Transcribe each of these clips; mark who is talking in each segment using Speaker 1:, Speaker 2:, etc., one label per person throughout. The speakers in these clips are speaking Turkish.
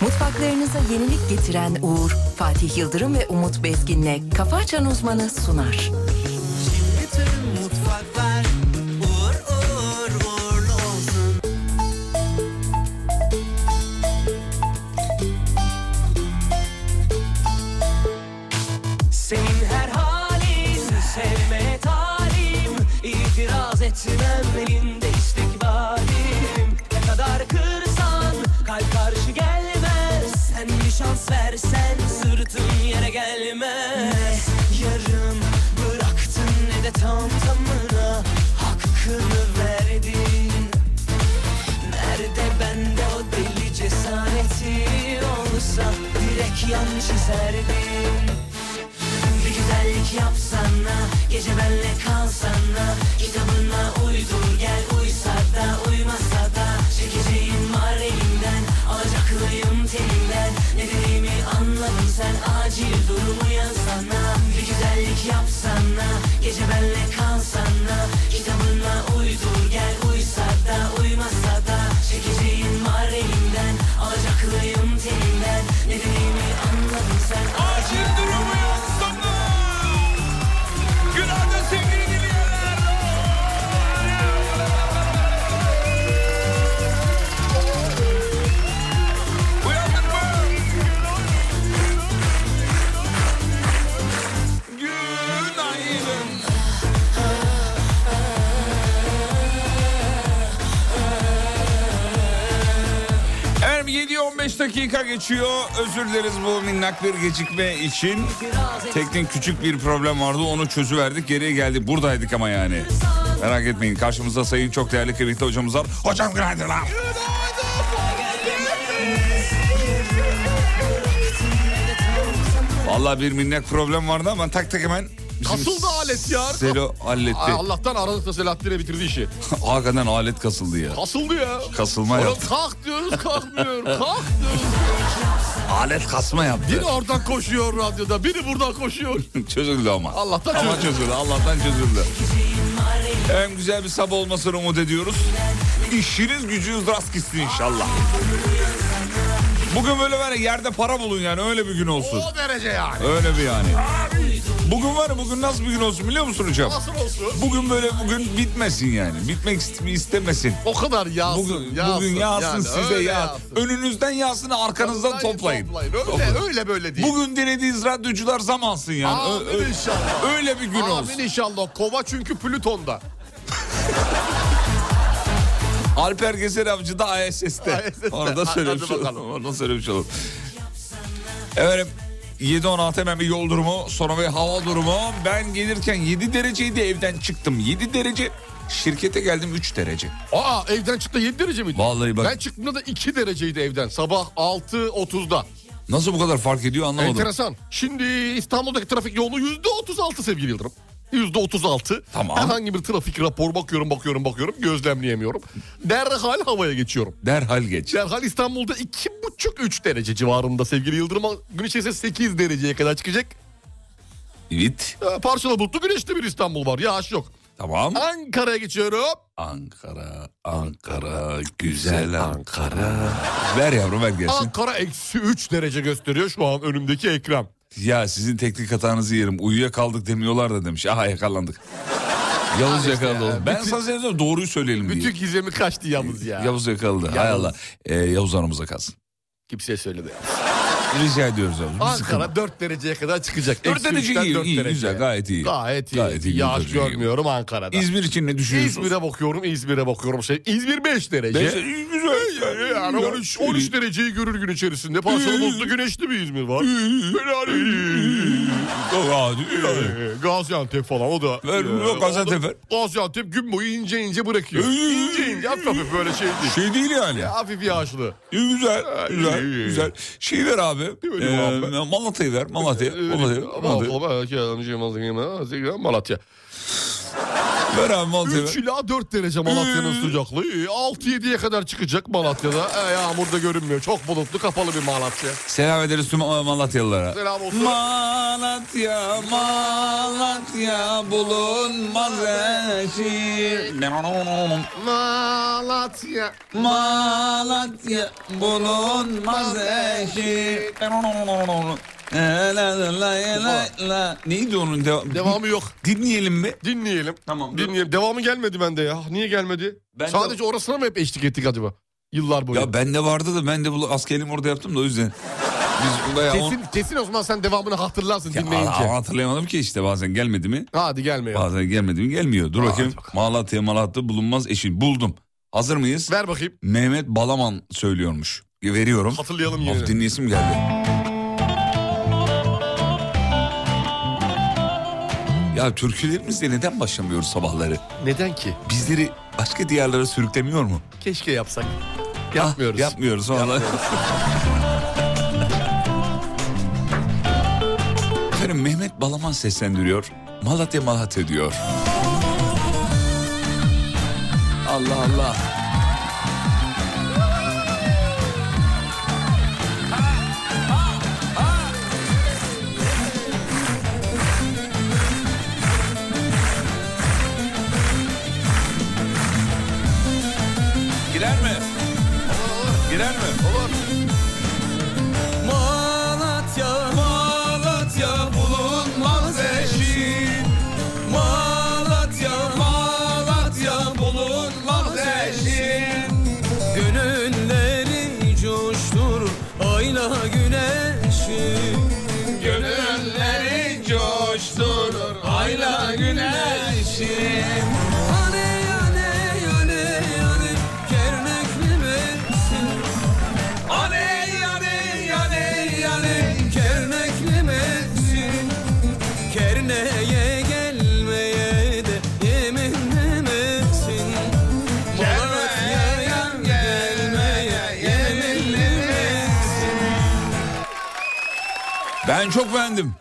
Speaker 1: Mutfaklarınıza yenilik getiren Uğur, Fatih Yıldırım ve Umut Bezgin'le Kafa Açan Uzmanı sunar.
Speaker 2: Bütün mutfaklar uğur uğur uğurlu olsun. Senin her halin sevmeye talim İtiraz etmem elinde istikbalim Ne kadar kırsan kalp karşı gelmez Sen bir şans versen sırtın yere gelmez Yarım bıraktın ne de tam tamına Hakkını verdin Nerede bende o deli cesareti olsa Direkt yan çizerdim bir güzellik yapsana Gece benle kalsana Kitabına uydur gel Uysa da uymasa da Çekeceğim var elimden Alacaklıyım telinden Ne dediğimi anladın sen Acil durumu yazsana Bir güzellik yapsana Gece benle kalsana Kitabına uydur gel Uysa da uymasa da Çekeceğim var elimden Alacaklıyım telinden Ne dediğimi anladın sen
Speaker 3: Acil durumu yok sana. Günaydın sevgili dinleyenler. Uyandın mı? Günaydın. Efendim 7-15 dakika geçiyor. Özür dileriz bu minnak bir gecikme için. Teknik küçük bir problem vardı. Onu çözüverdik. Geriye geldi. Buradaydık ama yani. Merak etmeyin. Karşımızda sayın çok değerli kıymetli hocamız var. Hocam günaydın lan. Vallahi bir minnak problem vardı ama tak tak hemen bizim
Speaker 4: Kasıldı alet ya.
Speaker 3: Selo halletti.
Speaker 4: Ay, Allah'tan aralıkta Selahattin'e bitirdi işi.
Speaker 3: Hakikaten alet kasıldı ya.
Speaker 4: Kasıldı ya.
Speaker 3: Kasılma
Speaker 4: Oğlum
Speaker 3: yaptı.
Speaker 4: kalk diyoruz kalkmıyor. kalk diyoruz.
Speaker 3: Alet kasma yaptı.
Speaker 4: Biri oradan koşuyor radyoda. Biri buradan koşuyor.
Speaker 3: Çözüldü ama.
Speaker 4: Allah'tan
Speaker 3: Ama
Speaker 4: çözdü.
Speaker 3: çözüldü. Allah'tan çözüldü. Hem güzel bir sabah olmasını umut ediyoruz. İşiniz gücünüz rast gitsin inşallah. Bugün böyle var ya, yerde para bulun yani öyle bir gün olsun.
Speaker 4: O derece yani.
Speaker 3: Öyle bir yani. Bugün var ya bugün nasıl bir gün olsun biliyor musun hocam?
Speaker 4: Nasıl olsun?
Speaker 3: Bugün böyle bugün bitmesin yani. Bitmek ist- istemesin.
Speaker 4: O kadar yağsın.
Speaker 3: Bugün,
Speaker 4: yağsın.
Speaker 3: bugün yağsın
Speaker 4: Yani
Speaker 3: size
Speaker 4: öyle
Speaker 3: yağ.
Speaker 4: yağsın.
Speaker 3: Önünüzden yağsın arkanızdan
Speaker 4: Toplayın,
Speaker 3: toplayın.
Speaker 4: Öyle,
Speaker 3: Toplayın.
Speaker 4: öyle böyle değil.
Speaker 3: Bugün denediğiniz radyocular zamansın yani. Ö-
Speaker 4: Amin
Speaker 3: ö-
Speaker 4: inşallah.
Speaker 3: Öyle bir gün
Speaker 4: Amin
Speaker 3: olsun.
Speaker 4: inşallah. Kova çünkü Plüton'da.
Speaker 3: Alper Gezer Avcı da ISS'te.
Speaker 4: ISS'te.
Speaker 3: Orada
Speaker 4: Ha-
Speaker 3: söylemiş
Speaker 4: hadi
Speaker 3: olalım.
Speaker 4: bakalım.
Speaker 3: Orada söylemiş olalım. Efendim 7-16 hemen bir yol durumu sonra bir hava durumu. Ben gelirken 7 dereceydi evden çıktım. 7 derece şirkete geldim 3 derece.
Speaker 4: Aa evden çıktı 7 derece miydi?
Speaker 3: Vallahi bak
Speaker 4: Ben çıktığımda da 2 dereceydi evden. Sabah 6.30'da.
Speaker 3: nasıl bu kadar fark ediyor anlamadım.
Speaker 4: Enteresan. Şimdi İstanbul'daki trafik yoğunluğu yüzde 36 sevgili Yıldırım. Yüzde 36.
Speaker 3: Tamam.
Speaker 4: Herhangi bir trafik rapor bakıyorum bakıyorum bakıyorum gözlemleyemiyorum. Derhal havaya geçiyorum.
Speaker 3: Derhal geç.
Speaker 4: Derhal İstanbul'da 2,5-3 derece civarında sevgili Yıldırım. Ama Gün içerisinde 8 dereceye kadar çıkacak.
Speaker 3: Evet.
Speaker 4: Ee, parçalı bulutlu güneşli bir İstanbul var. Yağış yok.
Speaker 3: Tamam.
Speaker 4: Ankara'ya geçiyorum.
Speaker 3: Ankara, Ankara, güzel Ankara. Ver yavrum ver gelsin.
Speaker 4: Ankara eksi 3 derece gösteriyor şu an önümdeki ekran.
Speaker 3: Ya sizin teknik hatanızı yerim. Uyuyakaldık demiyorlar da demiş. Aha yakalandık. Yavuz yakaladı oğlum. Ben sana söylüyorum doğruyu söyleyelim diye.
Speaker 4: Bütün gizemi kaçtı yalnız ya.
Speaker 3: Yavuz yakaladı. Hay Allah. Ee, Yavuz aramızda kalsın.
Speaker 4: Kimseye söyledi.
Speaker 3: Rica ediyoruz Yavuz. Bir sıkıntı.
Speaker 4: Ankara 4 dereceye kadar çıkacak.
Speaker 3: Dört
Speaker 4: Eksi
Speaker 3: derece
Speaker 4: üçten
Speaker 3: iyi,
Speaker 4: dört
Speaker 3: iyi,
Speaker 4: dereceye.
Speaker 3: güzel, gayet iyi.
Speaker 4: Gayet iyi.
Speaker 3: Gayet iyi,
Speaker 4: Yağış
Speaker 3: dört derece iyi.
Speaker 4: görmüyorum Ankara'da.
Speaker 3: İzmir için ne düşünüyorsunuz?
Speaker 4: İzmir'e bakıyorum, İzmir'e bakıyorum. Şey, İzmir 5 derece.
Speaker 3: Beş- İyi, güzel.
Speaker 4: Yani, yani 13, 13 dereceyi görür gün içerisinde. Parçalı bulutlu güneşli bir İzmir var. Helal.
Speaker 3: Yok, hadi, hadi.
Speaker 4: Ee, Gaziantep falan o da.
Speaker 3: Ver,
Speaker 4: Ee,
Speaker 3: yok, Gaziantep
Speaker 4: o da-
Speaker 3: ver.
Speaker 4: Gaziantep gün boyu ince ince bırakıyor.
Speaker 3: Ee,
Speaker 4: ince ince hafif hafif böyle şey değil.
Speaker 3: Şey değil yani.
Speaker 4: Hafif yağışlı.
Speaker 3: İyi, güzel, güzel,
Speaker 4: iyi, iyi.
Speaker 3: güzel. Şey ver abi.
Speaker 4: Öyle
Speaker 3: ee,
Speaker 4: abi.
Speaker 3: Malatya'yı ver, Malatya'yı. Malatya'yı, Malatya'yı.
Speaker 4: Malatya.
Speaker 3: Ver abi Malatya'ya.
Speaker 4: 3 ila 4 derece Malatya'nın sıcaklığı. 6-7'ye kadar çıkacak Malatya'da. E, yağmur da görünmüyor. Çok bulutlu kapalı bir Malatya.
Speaker 3: Selam ederiz tüm Malatyalılara.
Speaker 4: Selam olsun.
Speaker 3: Malatya, Malatya bulunmaz eşi.
Speaker 4: Malatya.
Speaker 3: Malatya bulunmaz eşi. Neydi onun devamı?
Speaker 4: Devamı yok.
Speaker 3: Dinleyelim mi?
Speaker 4: Dinleyelim.
Speaker 3: Tamam.
Speaker 4: Dinleyelim. Devamı gelmedi bende ya. Niye gelmedi?
Speaker 3: Ben de-
Speaker 4: Sadece orasına mı hep eşlik ettik acaba? Yıllar boyu.
Speaker 3: Ya bende vardı da ben de bu askerim orada yaptım da o yüzden. Biz bayağı on-
Speaker 4: Kesin, kesin o zaman sen devamını hatırlarsın
Speaker 3: Ya,
Speaker 4: dinleyince.
Speaker 3: ama hatırlayamadım ki işte bazen gelmedi mi?
Speaker 4: Hadi gelme ya.
Speaker 3: Bazen gelmedi mi? Gelmiyor. Dur
Speaker 4: Hadi
Speaker 3: bakayım.
Speaker 4: bakalım.
Speaker 3: Malatya Malatya bulunmaz eşi. Buldum. Hazır mıyız?
Speaker 4: Ver bakayım.
Speaker 3: Mehmet Balaman söylüyormuş. Veriyorum.
Speaker 4: Hatırlayalım
Speaker 3: Of
Speaker 4: yine.
Speaker 3: dinleyesim geldi. Ya türkülerimizle neden başlamıyoruz sabahları?
Speaker 4: Neden ki?
Speaker 3: Bizleri başka diyarlara sürüklemiyor mu?
Speaker 4: Keşke yapsak. Yapmıyoruz.
Speaker 3: Ah, yapmıyoruz vallahi. Efendim Mehmet Balaman seslendiriyor. Malatya Malatya diyor. Allah Allah. Girer mi? Girer mi? Olur. Malatya, Malatya bulunmaz eşi. Malatya, Malatya bulunmaz eşi.
Speaker 5: Gönülleri coştur ayna güneşi
Speaker 3: Gönülleri coştur ayla güneşi.
Speaker 5: Yane yane yane yane Kermekli mevsim Ane yane yane yane Kermekli mevsim Kerne'ye gelmeye de yeminli mevsim Malatya'ya gelmeye yeminli mevsim
Speaker 3: Ben çok beğendim.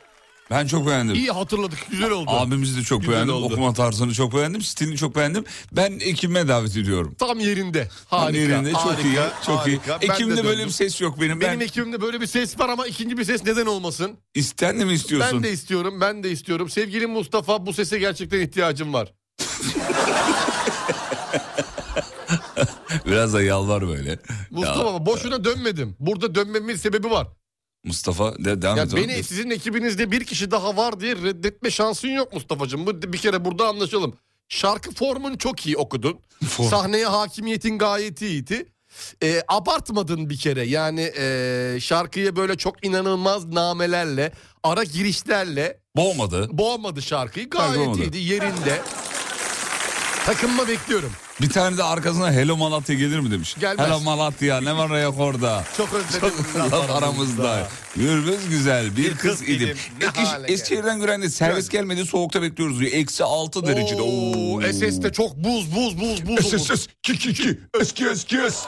Speaker 3: Ben çok beğendim.
Speaker 4: İyi hatırladık. Güzel oldu.
Speaker 3: Abimizi de çok
Speaker 4: Güzel
Speaker 3: beğendim.
Speaker 4: oldu.
Speaker 3: Okuma tarzını çok beğendim. Stilini çok beğendim. Ben ekime davet ediyorum.
Speaker 4: Tam yerinde.
Speaker 3: Tam
Speaker 4: Harika.
Speaker 3: yerinde. Çok
Speaker 4: harika,
Speaker 3: iyi. Çok
Speaker 4: harika.
Speaker 3: iyi.
Speaker 4: Ben
Speaker 3: Ekim'de
Speaker 4: de
Speaker 3: böyle
Speaker 4: döndüm.
Speaker 3: bir ses yok benim.
Speaker 4: Benim
Speaker 3: ben
Speaker 4: ekimde böyle bir ses var ama ikinci bir ses neden olmasın?
Speaker 3: istendi mi istiyorsun?
Speaker 4: Ben de istiyorum, ben de istiyorum. Sevgili Mustafa bu sese gerçekten ihtiyacım var.
Speaker 3: Biraz da yalvar böyle.
Speaker 4: Mustafa
Speaker 3: Ya,
Speaker 4: boşuna dönmedim. Burada dönmemin sebebi var.
Speaker 3: Mustafa de, devam
Speaker 4: Ya
Speaker 3: et.
Speaker 4: beni sizin ekibinizde bir kişi daha var diye reddetme şansın yok Mustafa'cığım. Bu bir kere burada anlaşalım. Şarkı formun çok iyi okudun.
Speaker 3: Form.
Speaker 4: Sahneye hakimiyetin gayet iyiydi. Ee, abartmadın bir kere yani ee, şarkıya böyle çok inanılmaz namelerle ara girişlerle
Speaker 3: Boğmadı.
Speaker 4: boğmadı şarkıyı
Speaker 3: Hayır,
Speaker 4: gayet
Speaker 3: boğmadı.
Speaker 4: iyiydi yerinde. Takınma bekliyorum.
Speaker 3: Bir tane de arkasına Hello Malatya gelir mi demiş.
Speaker 4: Gelmez.
Speaker 3: Hello Malatya ne var ayak orada.
Speaker 4: Çok özledim.
Speaker 3: Laf aramızda. Gürbüz güzel bir, kız,
Speaker 4: kız
Speaker 3: idim.
Speaker 4: idim. Ne
Speaker 3: Ek-
Speaker 4: hale geldi.
Speaker 3: Eskişehir'den gülen de servis gelmedi soğukta bekliyoruz diyor. Eksi 6 derecede. Oo.
Speaker 4: SS'de çok buz buz buz buz.
Speaker 3: Ös,
Speaker 4: olur.
Speaker 3: ös, ös. Ki, ki, ki. Ös, ki, ös, ki, ös.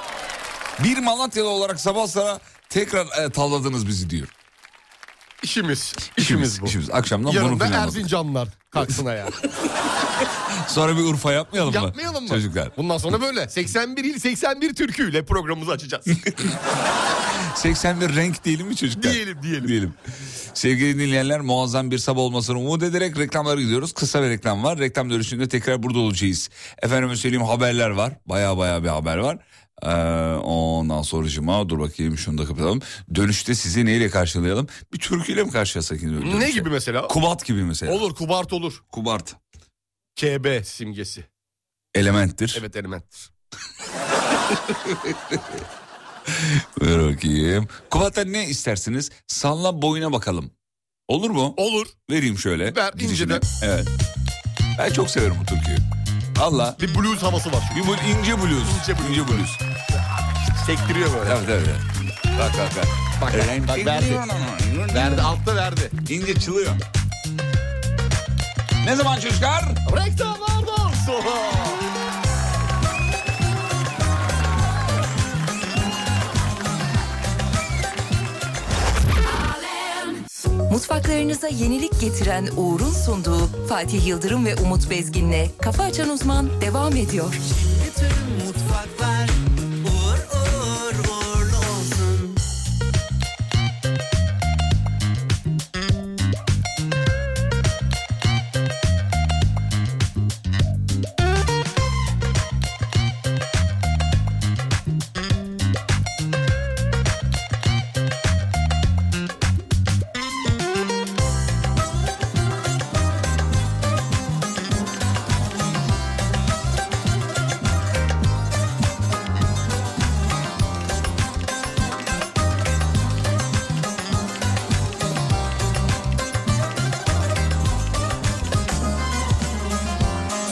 Speaker 3: Bir Malatyalı olarak sabah sana tekrar e, tavladınız bizi diyor.
Speaker 4: İşimiz. İşimiz bu.
Speaker 3: İşimiz. Akşamdan bunu
Speaker 4: Yarın da
Speaker 3: planladık.
Speaker 4: Erzincanlar kalksın ayağa.
Speaker 3: Sonra bir Urfa yapmayalım mı?
Speaker 4: Yapmayalım mı?
Speaker 3: Çocuklar.
Speaker 4: Bundan sonra böyle 81 il 81 türküyle programımızı açacağız.
Speaker 3: 81 renk diyelim mi çocuklar?
Speaker 4: Diyelim, diyelim.
Speaker 3: Sevgili dinleyenler muazzam bir sabah olmasını umut ederek reklamlara gidiyoruz. Kısa bir reklam var. Reklam dönüşünde tekrar burada olacağız. Efendime söyleyeyim haberler var. Baya baya bir haber var. Ee, ondan sonra cuma dur bakayım şunu da kapatalım. Dönüşte sizi neyle karşılayalım? Bir türküyle mi karşılasak? yine dönüşte?
Speaker 4: ne gibi mesela?
Speaker 3: Kubat gibi mesela.
Speaker 4: olur kubart olur.
Speaker 3: Kubart.
Speaker 4: KB simgesi.
Speaker 3: Elementtir.
Speaker 4: Evet elementtir.
Speaker 3: Ver bakayım. Kubat'tan ne istersiniz? Salla boyuna bakalım. Olur mu?
Speaker 4: Olur.
Speaker 3: Vereyim şöyle.
Speaker 4: Ver,
Speaker 3: gidişine.
Speaker 4: inceden.
Speaker 3: Evet. Ben çok severim bu türküyü. Allah.
Speaker 4: Bir blues havası var.
Speaker 3: Bir bu ince blues.
Speaker 4: İnce blues.
Speaker 3: İnce blues.
Speaker 4: çünkü. Sektiriyor böyle.
Speaker 3: Evet evet. evet. Bak bak bak.
Speaker 4: Bak, bak, bak, verdi. Verdi altta verdi.
Speaker 3: İnce çılıyor. Ne zaman çocuklar?
Speaker 4: Reklamlardan sonra.
Speaker 1: Mutfaklarınıza yenilik getiren Uğur'un sunduğu Fatih Yıldırım ve Umut Bezgin'le Kafa Açan Uzman devam ediyor.
Speaker 6: Tüm mutfaklar uğur uğur uğurlu olsun.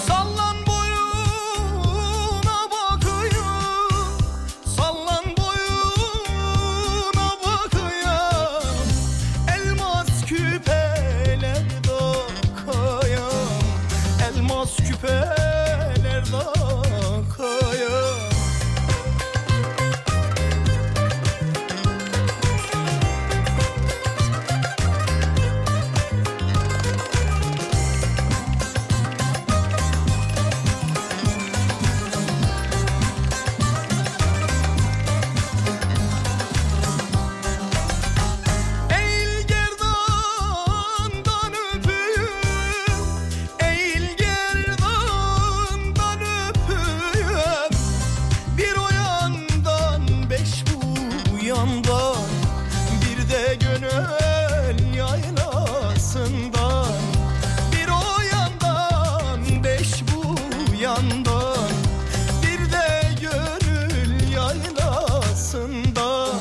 Speaker 2: Sallan boyuna bakıyor Sallan boyuna bakıyor Elmas küpeler takıyor Elmas küpeler takıyor Eğil gerdandan öpüyüm Eğil gerdandan öpüyüm Bir o yandan beş bu yandan Bir de gönül yaylasından Bir o yandan beş bu yandan Bir de gönül yaylasından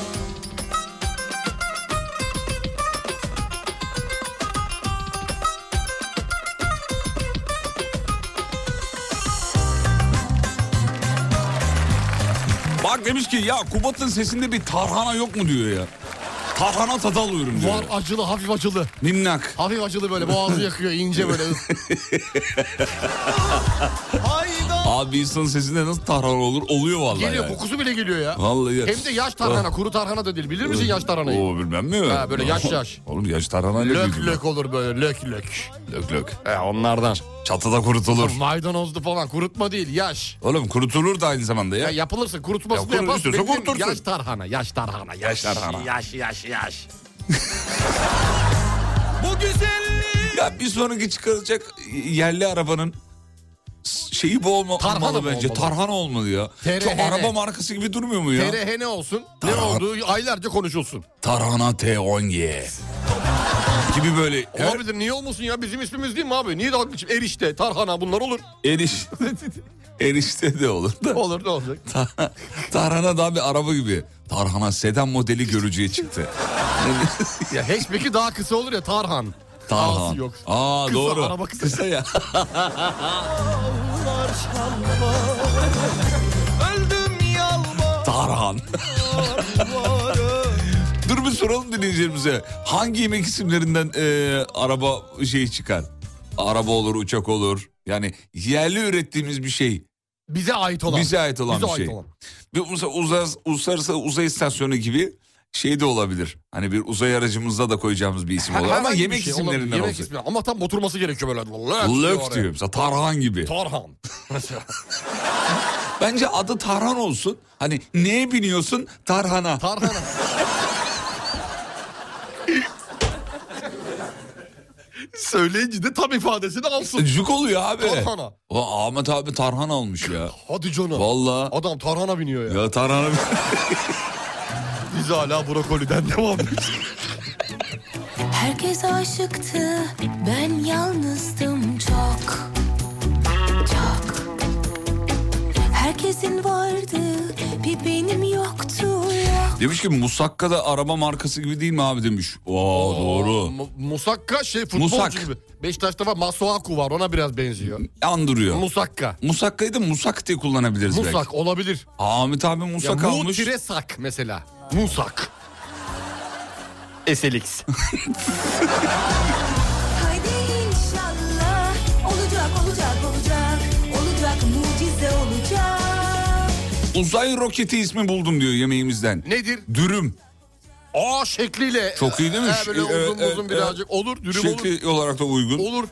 Speaker 3: Bak demiş ki ya Kubat'ın sesinde bir tarhana yok mu diyor ya. Tarhana tadı alıyorum diyor.
Speaker 4: Var acılı hafif acılı.
Speaker 3: Minnak.
Speaker 4: Hafif acılı böyle boğazı yakıyor ince böyle.
Speaker 2: Hayda
Speaker 3: Abi insanın sesinde nasıl tarhana olur? Oluyor vallahi
Speaker 4: geliyor
Speaker 3: yani.
Speaker 4: kokusu bile geliyor ya.
Speaker 3: Vallahi ya. Oh.
Speaker 4: Hem de yaş tarhana kuru tarhana da değil. Bilir misin yaş tarhanayı?
Speaker 3: Oo bilmem mi?
Speaker 4: Ha, böyle yaş yaş.
Speaker 3: Oğlum yaş tarhana ne
Speaker 4: Lök
Speaker 3: büyüdü?
Speaker 4: lök olur böyle lök lök.
Speaker 3: Lök lök.
Speaker 4: E onlardan.
Speaker 3: Çatıda kurutulur.
Speaker 4: Maydanozlu falan kurutma değil yaş.
Speaker 3: Oğlum kurutulur da aynı zamanda ya.
Speaker 4: Ya yapılırsa kurutmasını
Speaker 3: Ya
Speaker 4: ya,
Speaker 3: kurut-
Speaker 4: yaparsın.
Speaker 3: istiyorsa
Speaker 4: Benim-
Speaker 3: kurutursun.
Speaker 4: Yaş tarhana yaş tarhana yaş,
Speaker 3: Yaş tarhana.
Speaker 4: Yaş yaş yaş.
Speaker 2: bu güzellik
Speaker 3: Ya bir sonraki çıkaracak yerli arabanın s- şeyi bu olma,
Speaker 4: Tarhana
Speaker 3: olmalı
Speaker 4: mı
Speaker 3: bence.
Speaker 4: olmalı?
Speaker 3: Tarhana olmalı ya.
Speaker 4: TRHN.
Speaker 3: Çok araba markası gibi durmuyor mu ya?
Speaker 4: TRH ne olsun? Ne
Speaker 3: Tarhana.
Speaker 4: olduğu aylarca konuşulsun.
Speaker 3: Tarhana T10Y. gibi böyle.
Speaker 4: Olabilir niye olmasın ya bizim ismimiz değil mi abi? Niye dalga geçip erişte, tarhana bunlar olur.
Speaker 3: Eriş, erişte de olur da.
Speaker 4: Olur ne olacak?
Speaker 3: Tar- Tarhana daha bir araba gibi. Tarhana sedan modeli görücüye çıktı.
Speaker 4: Ya hatchback'i daha kısa olur ya tarhan.
Speaker 3: Tarhan.
Speaker 4: Ağzı yok.
Speaker 3: Aa
Speaker 4: Kısa,
Speaker 3: doğru.
Speaker 4: araba kısa.
Speaker 3: ya.
Speaker 2: öldüm yalvar
Speaker 3: Tarhan.
Speaker 2: varım.
Speaker 3: Dur bir soralım dinleyicilerimize. Hangi yemek isimlerinden e, araba şey çıkar? Araba olur, uçak olur. Yani yerli ürettiğimiz bir şey.
Speaker 4: Bize ait olan.
Speaker 3: Bize ait olan
Speaker 4: Bize
Speaker 3: bir
Speaker 4: ait
Speaker 3: şey.
Speaker 4: olan.
Speaker 3: Bir uza- uzas- uluslararası uzay istasyonu gibi şey de olabilir. Hani bir uzay aracımızda da koyacağımız bir isim olur. Ama
Speaker 4: Herhangi bir
Speaker 3: yemek
Speaker 4: şey olabilir,
Speaker 3: isimlerinden
Speaker 4: yemek
Speaker 3: olacak.
Speaker 4: ismi. Ama tam oturması gerekiyor böyle. Lök,
Speaker 3: Lök
Speaker 4: oraya.
Speaker 3: diyor. Mesela Tarhan gibi.
Speaker 4: Tarhan.
Speaker 3: Bence adı Tarhan olsun. Hani neye biniyorsun? Tarhana.
Speaker 4: Tarhana. Söyleyince de tam ifadesini alsın.
Speaker 3: E, Cuk oluyor abi.
Speaker 4: Tarhana.
Speaker 3: O Ahmet abi Tarhan almış ya.
Speaker 4: Hadi canım.
Speaker 3: Vallahi.
Speaker 4: Adam tarhana biniyor ya.
Speaker 3: Ya Tarhan'a
Speaker 4: Biz hala brokoliden devam ediyoruz.
Speaker 7: Herkes aşıktı, ben yalnızdım çok, çok. Herkesin vardı, bir benim yoktu yok.
Speaker 3: Demiş ki musakka da araba markası gibi değil mi abi demiş. Oo, doğru.
Speaker 4: Mu- Musakka şey futbolcu
Speaker 3: Musak.
Speaker 4: gibi. Beşiktaş'ta var Masuaku var ona biraz benziyor.
Speaker 3: Andırıyor.
Speaker 4: Musakka.
Speaker 3: Musakka'yı da musak diye kullanabiliriz belki.
Speaker 4: Musak olabilir.
Speaker 3: Ahmet abi
Speaker 4: Ya
Speaker 3: musak
Speaker 4: mu
Speaker 3: almış.
Speaker 4: tire sak mesela. Musak. SLX.
Speaker 7: Haydi inşallah, olacak olacak olacak, olacak mucize olacak.
Speaker 3: Uzay roketi ismi buldum diyor yemeğimizden.
Speaker 4: Nedir?
Speaker 3: Dürüm.
Speaker 4: Aa şekliyle.
Speaker 3: Çok iyi değil mi?
Speaker 4: Ha, böyle
Speaker 3: Ee,
Speaker 4: uzun
Speaker 3: e,
Speaker 4: uzun
Speaker 3: e,
Speaker 4: birazcık. olur dürüm
Speaker 3: Şekli olarak da uygun.
Speaker 4: olur. Olur.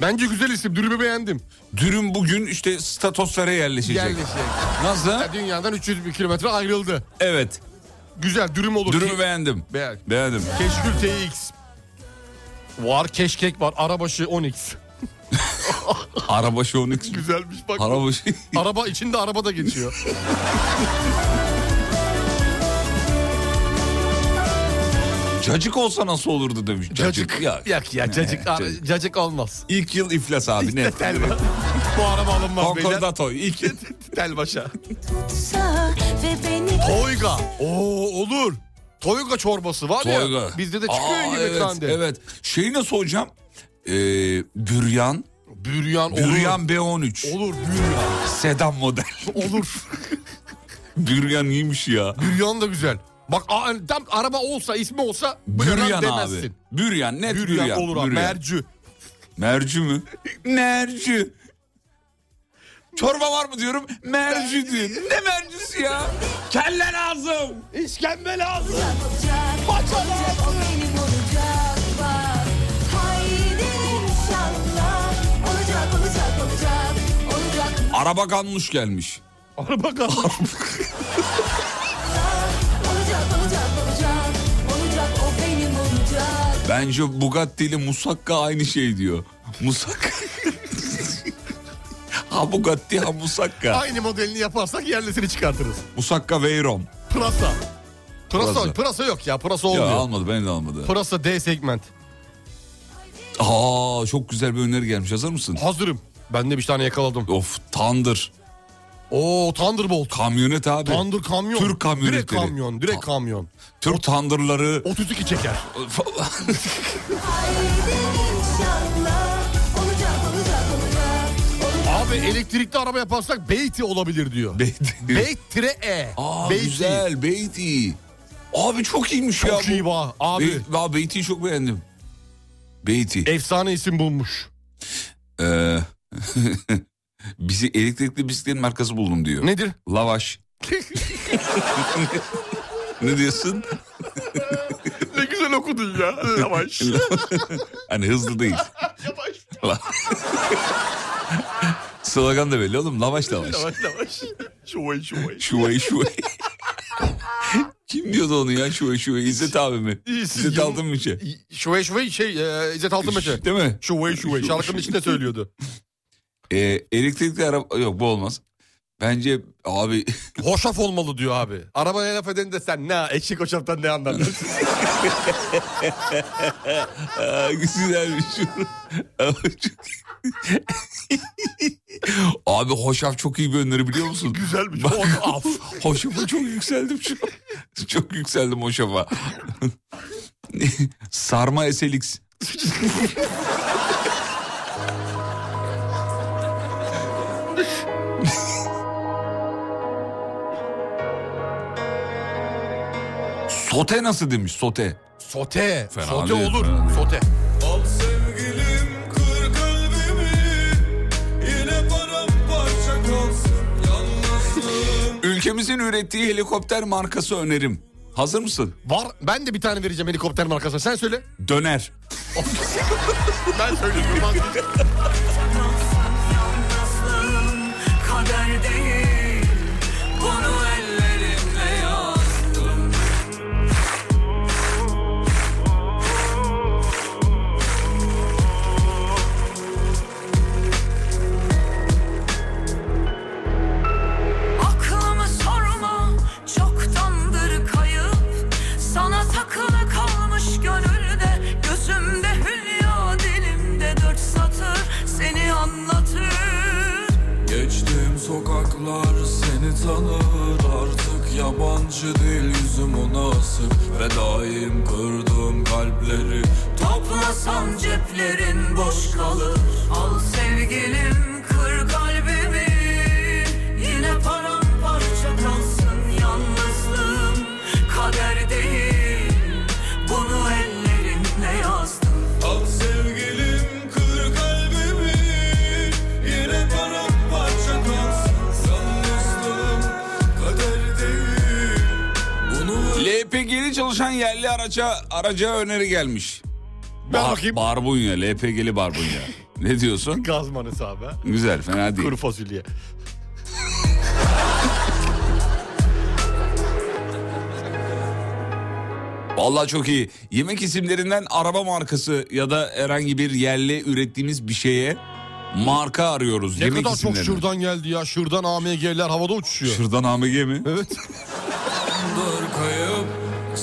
Speaker 4: Bence güzel isim. Dürümü beğendim.
Speaker 3: Dürüm bugün işte statoslara yerleşecek.
Speaker 4: Yerleşecek.
Speaker 3: Nasıl?
Speaker 4: Ya dünyadan 300 bin kilometre ayrıldı.
Speaker 3: Evet.
Speaker 4: Güzel dürüm olur.
Speaker 3: Dürümü beğendim.
Speaker 4: Beğen.
Speaker 3: Beğendim.
Speaker 4: Keşkül TX. Var keşkek var. Arabaşı 10X.
Speaker 3: Araba X.
Speaker 4: Güzelmiş bak.
Speaker 3: Araba şey.
Speaker 4: Araba içinde araba da geçiyor.
Speaker 3: Cacık olsa nasıl olurdu demiş.
Speaker 4: Cacık.
Speaker 3: Ya.
Speaker 4: Yak ya cacık.
Speaker 3: Ne,
Speaker 4: ara-
Speaker 3: cacık.
Speaker 4: cacık olmaz.
Speaker 3: İlk yıl iflas abi ne?
Speaker 4: Bu araba alınmaz beyler.
Speaker 3: Konkordato. İlk
Speaker 4: Tel başa.
Speaker 2: tutsa ve beni
Speaker 4: Toyga. Oo olur. Toyga çorbası var
Speaker 3: Toyga.
Speaker 4: ya. Bizde de çıkıyor
Speaker 3: Aa,
Speaker 4: yemekhane.
Speaker 3: evet, evet. Şeyi nasıl hocam? Ee, büryan.
Speaker 4: Büryan olur.
Speaker 3: Büryan B13.
Speaker 4: Olur büryan.
Speaker 3: Sedan model.
Speaker 4: Olur.
Speaker 3: büryan iyiymiş ya.
Speaker 4: büryan da güzel. Bak aa, tam araba olsa ismi olsa büryan
Speaker 3: Büryan
Speaker 4: demezsin.
Speaker 3: abi. Büryan net büryan.
Speaker 4: Büryan, olur abi. Mercü.
Speaker 3: Mercü mü? Mercü. Çorba var mı diyorum. Mercü diyor. Ne mercüsü ya? Kelle lazım.
Speaker 4: İşkembe lazım.
Speaker 2: o benim olacak bak Haydi inşallah Olacak olacak olacak Olacak
Speaker 3: Araba ganmış gelmiş.
Speaker 4: Araba kalmış.
Speaker 2: olacak olacak olacak Olacak o benim olacak
Speaker 3: Bence Bugatti ile Musakka aynı şey diyor. Musakka. ha Bugatti ha Musakka.
Speaker 4: Aynı modelini yaparsak yerlisini çıkartırız.
Speaker 3: Musakka Veyron.
Speaker 4: Pırasa. Pırasa,
Speaker 3: Pırasa.
Speaker 4: pırasa. yok ya. Pırasa
Speaker 3: Ya
Speaker 4: olmuyor.
Speaker 3: almadı beni de almadı.
Speaker 4: Pırasa D segment.
Speaker 3: Aa çok güzel bir öneri gelmiş hazır mısın?
Speaker 4: Hazırım. Ben de bir tane yakaladım.
Speaker 3: Of Thunder.
Speaker 4: Oo Thunderbolt.
Speaker 3: Kamyonet abi.
Speaker 4: Thunder kamyon.
Speaker 3: Türk kamyonetleri.
Speaker 4: Direkt kamyon. Direkt kamyon.
Speaker 3: Türk Thunder'ları.
Speaker 4: 32 çeker.
Speaker 2: Haydi inşallah Olacak olacak olacak
Speaker 4: Abi elektrikli araba yaparsak Beyti olabilir diyor.
Speaker 3: Beyti.
Speaker 4: Beyt tire E.
Speaker 3: Aa
Speaker 4: Beyti.
Speaker 3: güzel Beyti. Abi çok iyiymiş ya.
Speaker 4: Çok
Speaker 3: bu.
Speaker 4: iyi va. Abi
Speaker 3: Be- ben Beyti'yi çok beğendim. Beyti.
Speaker 4: efsane isim bulmuş.
Speaker 3: Ee, bizi elektrikli bisikletin markası buldum diyor.
Speaker 4: Nedir?
Speaker 3: Lavaş. ne diyorsun?
Speaker 4: ne güzel okudun ya. Yavaş.
Speaker 3: Hani hızlı değil.
Speaker 4: yavaş.
Speaker 3: Slogan da belli oğlum. Lavaş lavaş.
Speaker 4: Yavaş yavaş. Şuvay şuvay.
Speaker 3: Şuvay şuvay. Kim diyordu onu ya şuvay şuvay? İzzet abi mi?
Speaker 4: İzzet
Speaker 3: İzzet
Speaker 4: Yıl-
Speaker 3: Altınmış'ı.
Speaker 4: Şuvay şuvay şey e, İzzet Altınbaşı.
Speaker 3: Değil mi?
Speaker 4: Şuvay şuvay. Şarkının içinde söylüyordu.
Speaker 3: Ee, elektrikli araba... Yok bu olmaz. Bence abi
Speaker 4: Hoşaf olmalı diyor abi. Arabaya laf eden de sen ne eşek hoşaftan ne anlarsın?
Speaker 3: Aa, Güzelmiş. Abi çok- Abi hoşaf çok iyi bir öneri biliyor musun?
Speaker 4: Güzelmiş.
Speaker 3: Bak, hoşafa çok yükseldim şu an. Çok yükseldim hoşafa. Sarma SLX. sote nasıl demiş sote?
Speaker 4: Sote.
Speaker 3: Fena
Speaker 4: sote
Speaker 3: değil,
Speaker 4: olur.
Speaker 3: fena değil.
Speaker 4: Sote.
Speaker 5: Al sevgilim kır kalbimi Yine paramparça kalsın yalnızlığım
Speaker 3: Ülkemizin ürettiği helikopter markası önerim. Hazır mısın?
Speaker 4: Var. Ben de bir tane vereceğim helikopter markasına. Sen söyle.
Speaker 3: Döner.
Speaker 4: ben söyleyeyim.
Speaker 8: Yalnızlığım kader değil Bunu ellerimle yazdım Aklımı sorma çoktandır kayıp Sana takılı kalmış gönülde Gözümde hülya dilimde dört satır Seni anlatır
Speaker 5: Geçtiğim sokaklar seni tanır artık yabancı değil yüzüm ona asık Fedaiyim kırdığım kalpleri
Speaker 8: Toplasan ceplerin boş kalır Al sevgilim kır kalbimi Yine paramparça kalsın yalnızlığım Kader değil bunu ellerinle yazdım
Speaker 5: Al sevgilim kır kalbimi Yine paramparça kalsın Yalnızlığım kader değil Bunu
Speaker 3: L LPG'li çalışan yerli araca araca öneri gelmiş.
Speaker 4: Ben
Speaker 3: Bar-
Speaker 4: bakayım.
Speaker 3: Barbunya, LPG'li barbunya. ne diyorsun?
Speaker 4: Gaz manası abi. ha.
Speaker 3: Güzel, fena değil.
Speaker 4: Kuru fasulye.
Speaker 3: Vallahi çok iyi. Yemek isimlerinden araba markası ya da herhangi bir yerli ürettiğimiz bir şeye marka arıyoruz.
Speaker 4: Ne
Speaker 3: yemek
Speaker 4: kadar çok
Speaker 3: isimlerini.
Speaker 4: şuradan geldi ya. Şuradan AMG'ler havada uçuşuyor.
Speaker 3: Şırdan AMG mi?
Speaker 4: evet.
Speaker 5: Dur kayıp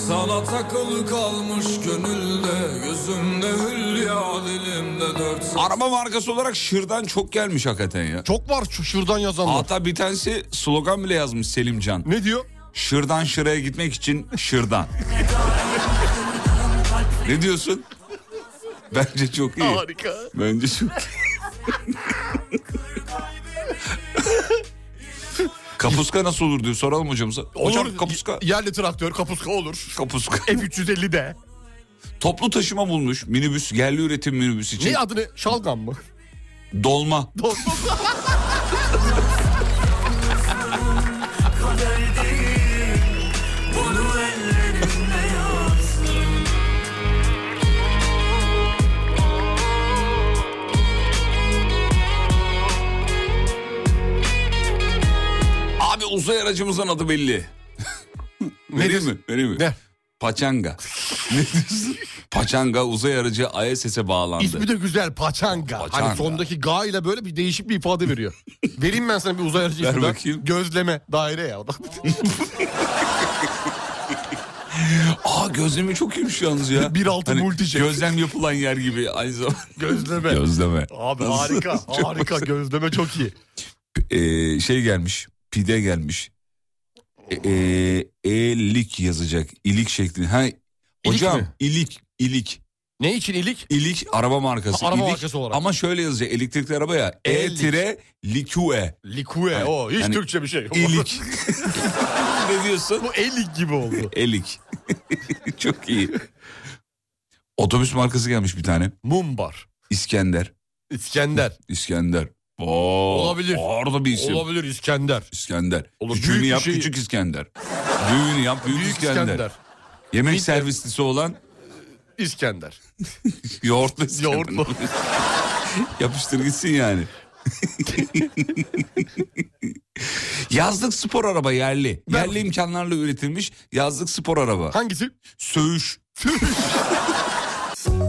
Speaker 5: sana takılı kalmış gönülde Gözümde hülya dilimde dört
Speaker 3: Araba markası olarak şırdan çok gelmiş hakikaten ya.
Speaker 4: Çok var şu şuradan yazanlar.
Speaker 3: Hatta bir tanesi slogan bile yazmış Selimcan.
Speaker 4: Ne diyor?
Speaker 3: Şırdan şıraya gitmek için şırdan. ne diyorsun? Bence çok iyi.
Speaker 4: Harika.
Speaker 3: Bence çok iyi. kapuska nasıl olur diyor soralım hocamıza. Hocam
Speaker 4: Olur.
Speaker 3: kapuska.
Speaker 4: Yerli traktör kapuska olur.
Speaker 3: Kapuska.
Speaker 4: F350 de.
Speaker 3: Toplu taşıma bulmuş minibüs yerli üretim minibüs için.
Speaker 4: Ne adını? Şalgam mı?
Speaker 3: Dolma.
Speaker 4: Doğru.
Speaker 8: kader değil Bunu ellerimle yaz
Speaker 3: Abi uzay aracımızın adı belli. Vereyim mi? Vereyim mi?
Speaker 4: Ne?
Speaker 3: Paçanga. ne diyorsun? Paçanga uzay aracı ISS'e bağlandı.
Speaker 4: İsmi de güzel Paçanga.
Speaker 3: Paçanga.
Speaker 4: Hani sondaki ga ile böyle bir değişik bir ifade veriyor. Vereyim ben sana bir uzay aracı
Speaker 3: Ver
Speaker 4: ismi.
Speaker 3: bakayım.
Speaker 4: Gözleme daire ya.
Speaker 3: Aa gözlemi çok iyiymiş yalnız ya. Hani
Speaker 4: Bir altı multijet.
Speaker 3: Gözlem yapılan yer gibi aynı zamanda.
Speaker 4: gözleme.
Speaker 3: Gözleme.
Speaker 4: Abi
Speaker 3: Nasıl?
Speaker 4: harika
Speaker 3: Çok
Speaker 4: harika gözleme çok iyi.
Speaker 3: Ee, şey gelmiş. Pide gelmiş. E, e- elik yazacak. İlik şeklinde. Ha, hocam
Speaker 4: mi?
Speaker 3: ilik ilik.
Speaker 4: Ne için ilik?
Speaker 3: İlik araba markası.
Speaker 4: Araba
Speaker 3: İlik-
Speaker 4: markası olarak.
Speaker 3: Ama şöyle yazacak elektrikli araba ya.
Speaker 4: Elik.
Speaker 3: E-likue.
Speaker 4: Likue
Speaker 3: Evet,
Speaker 4: o hiç
Speaker 3: yani
Speaker 4: Türkçe bir şey yok.
Speaker 3: İlik. ne diyorsun?
Speaker 4: Bu elik gibi oldu.
Speaker 3: Elik. Çok iyi. Otobüs markası gelmiş bir tane.
Speaker 4: Mumbar.
Speaker 3: İskender.
Speaker 4: İskender.
Speaker 3: İskender. Oo,
Speaker 4: Olabilir.
Speaker 3: Orada bir isim.
Speaker 4: Olabilir İskender.
Speaker 3: İskender.
Speaker 4: Olur, büyük
Speaker 3: Küçüğünü
Speaker 4: bir
Speaker 3: yap
Speaker 4: şey-
Speaker 3: küçük İskender. Büyüğünü yap büyük,
Speaker 4: Büyük
Speaker 3: İskender.
Speaker 4: İskender.
Speaker 3: Yemek
Speaker 4: Midye.
Speaker 3: servislisi olan
Speaker 4: İskender.
Speaker 3: yoğurtlu İskender.
Speaker 4: Yoğurtlu.
Speaker 3: Yapıştır gitsin yani. yazlık spor araba yerli.
Speaker 4: Ben-
Speaker 3: Yerli imkanlarla üretilmiş yazlık spor araba.
Speaker 4: Hangisi?
Speaker 3: Söğüş.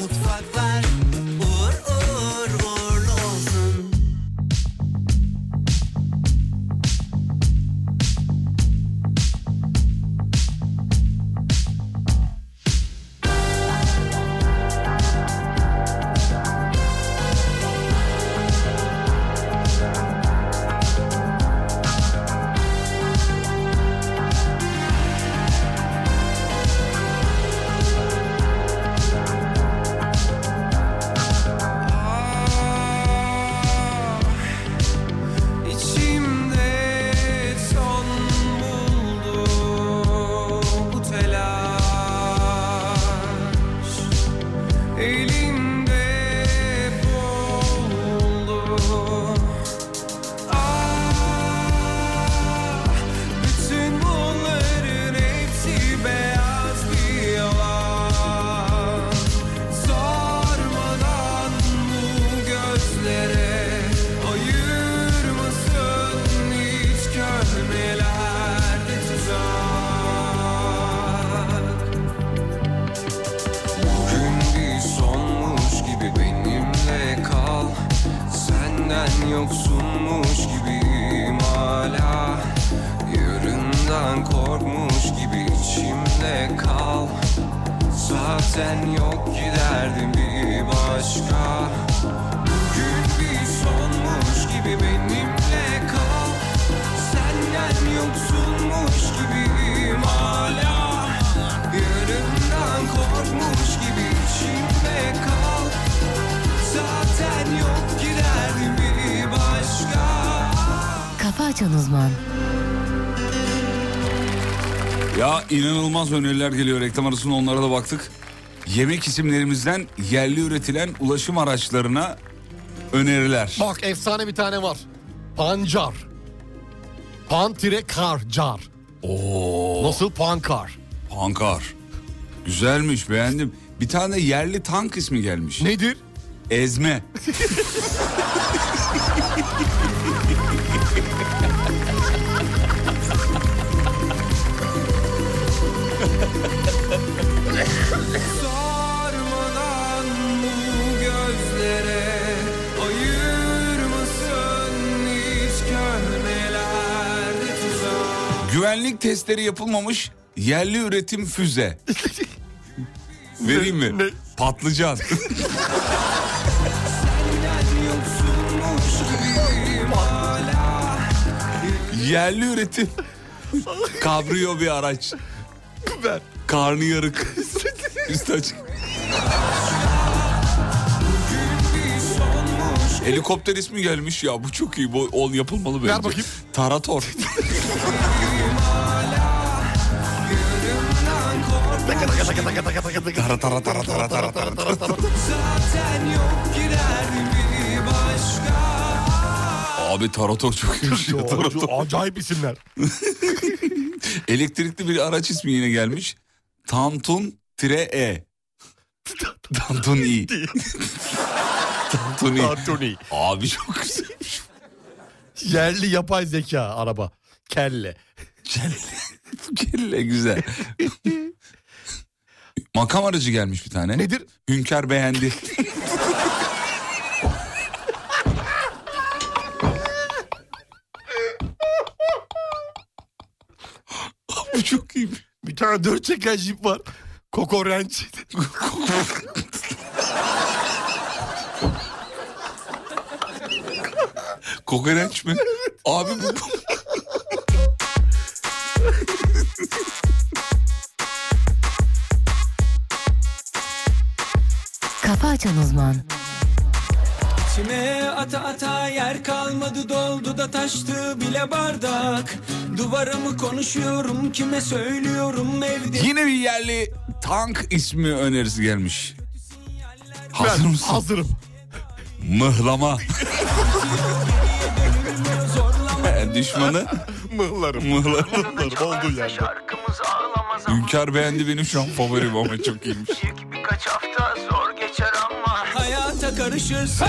Speaker 1: mutfaklar uğur uğur uğurlu olsun.
Speaker 8: İçimde son buldu bu telaş Elimde boğuldu Ah bütün bunların hepsi beyaz bir yalan Sormadan bu gözlere ayırmasın hiç kömelerde tuzak Gün bir sonmuş gibi benimle kal Senden yoksunmuş gibiyim hala Yarından korkmuş gibi içimde kal Zaten yok giderdim bir başka Gün bir sonmuş gibi benimle kal Senden yoksunmuş gibiyim hala Yarından korkmuş gibi içimde kal Zaten yok giderdim bir başka
Speaker 9: Kafa Açan Uzman
Speaker 3: Ya inanılmaz öneriler geliyor reklam arasında onlara da baktık. Yemek isimlerimizden yerli üretilen ulaşım araçlarına öneriler.
Speaker 4: Bak efsane bir tane var. Pancar. Pantire karcar. Oo. Nasıl pankar?
Speaker 3: Pankar. Güzelmiş beğendim. Bir tane yerli tank ismi gelmiş.
Speaker 4: Nedir?
Speaker 3: Ezme.
Speaker 2: Sarmadan bu gözlere ayırmasın hiç köhnelerde tuzak
Speaker 3: Güvenlik testleri yapılmamış yerli üretim füze. Vereyim mi? Patlıcan. yerli üretim. Kabriyo bir araç. Karnı yarık. Üstü açık. Helikopter ismi gelmiş ya bu çok iyi bu ol yapılmalı bence.
Speaker 4: bakayım.
Speaker 3: Tarator. Tara tara tara tara tara tara tara.
Speaker 2: Zaten yok girer mi başka
Speaker 3: Abi tarator çok iyi bir şey. Tarator.
Speaker 4: Acayip isimler.
Speaker 3: Elektrikli bir araç ismi yine gelmiş. Tantun tire E. Tantun İ. Tantun İ.
Speaker 4: Tantuni.
Speaker 3: Abi çok güzelmiş.
Speaker 4: Yerli yapay zeka araba. Kelle.
Speaker 3: Kelle. Bu Kelle E, güzel. Makam aracı gelmiş bir tane.
Speaker 4: Nedir?
Speaker 3: Hünkar beğendi. Abi çok iyi.
Speaker 4: Bir tane dört çeken jip var. Kokorenç.
Speaker 3: Kokoreç mi? Abi bu...
Speaker 1: Kafa Açan Uzman
Speaker 2: İçime ata ata yer kalmadı doldu da taştı bile bardak Duvarımı konuşuyorum kime söylüyorum evde
Speaker 3: Yine bir yerli tank ismi önerisi gelmiş. Hazır
Speaker 4: Ben
Speaker 3: mısın?
Speaker 4: hazırım.
Speaker 3: Mıhlama. E, Düşmanı
Speaker 4: Mıhlarım.
Speaker 3: mıhlarım.
Speaker 4: Olduğu yerde.
Speaker 10: Şarkımız ağlamaz ama
Speaker 3: Hünkar beğendi benim şu an favorim ama çok iyiymiş.
Speaker 10: ilk birkaç hafta zor geçer ama
Speaker 2: Hayata karışırsın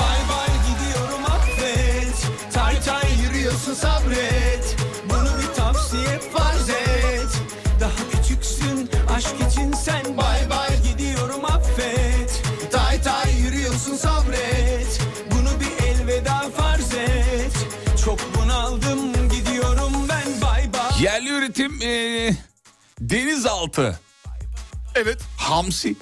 Speaker 2: Bay bay gidiyorum affet Tay tay yürüyorsun sabret Bunu bir tavsiye farz et Daha küçüksün aşk için sen Bay bay gidiyorum affet Tay tay yürüyorsun sabret Bunu bir elveda farz et Çok bunaldım gidiyorum ben bay bay
Speaker 3: Yerli üretim eee, denizaltı.
Speaker 4: Evet.
Speaker 3: Hamsi.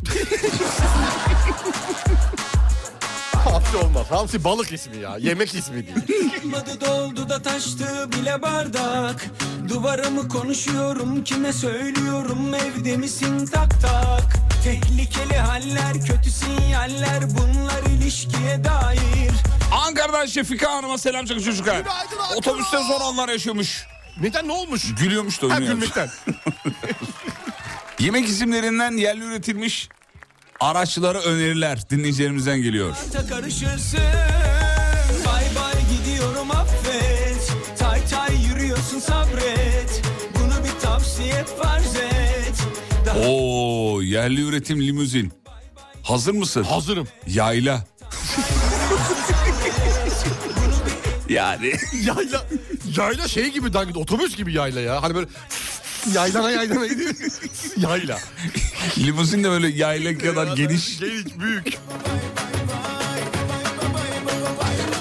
Speaker 4: Hamsi olmaz. Hamsi balık ismi ya. Yemek ismi değil.
Speaker 2: Olmadı doldu da taştı bile bardak Duvarımı konuşuyorum kime söylüyorum evde misin tak tak Tehlikeli haller kötü sinyaller bunlar ilişkiye dair
Speaker 3: Ankara'dan Şefika Hanım'a selam çakın çocuklar.
Speaker 4: Günaydın Ankara.
Speaker 3: Otobüste zor anlar yaşıyormuş.
Speaker 4: Neden ne olmuş?
Speaker 3: Gülüyormuş da
Speaker 4: Ha
Speaker 3: oynuyormuş.
Speaker 4: gülmekten.
Speaker 3: Yemek isimlerinden yerli üretilmiş araçlara öneriler dinleyicilerimizden geliyor.
Speaker 2: Hayata karışırsın Bay bay gidiyorum affet Tay tay yürüyorsun sabret Bunu bir tavsiye farz et Daha
Speaker 3: Oo yerli üretim limuzin. Hazır mısın?
Speaker 4: Hazırım.
Speaker 3: Yayla. yani
Speaker 4: Yayla. Yayla şey gibi dangit. Otobüs gibi yayla ya. Hani böyle yaylana yaylana gidiyor. yayla.
Speaker 3: limuzin de böyle yayla kadar geniş.
Speaker 4: Geniş büyük.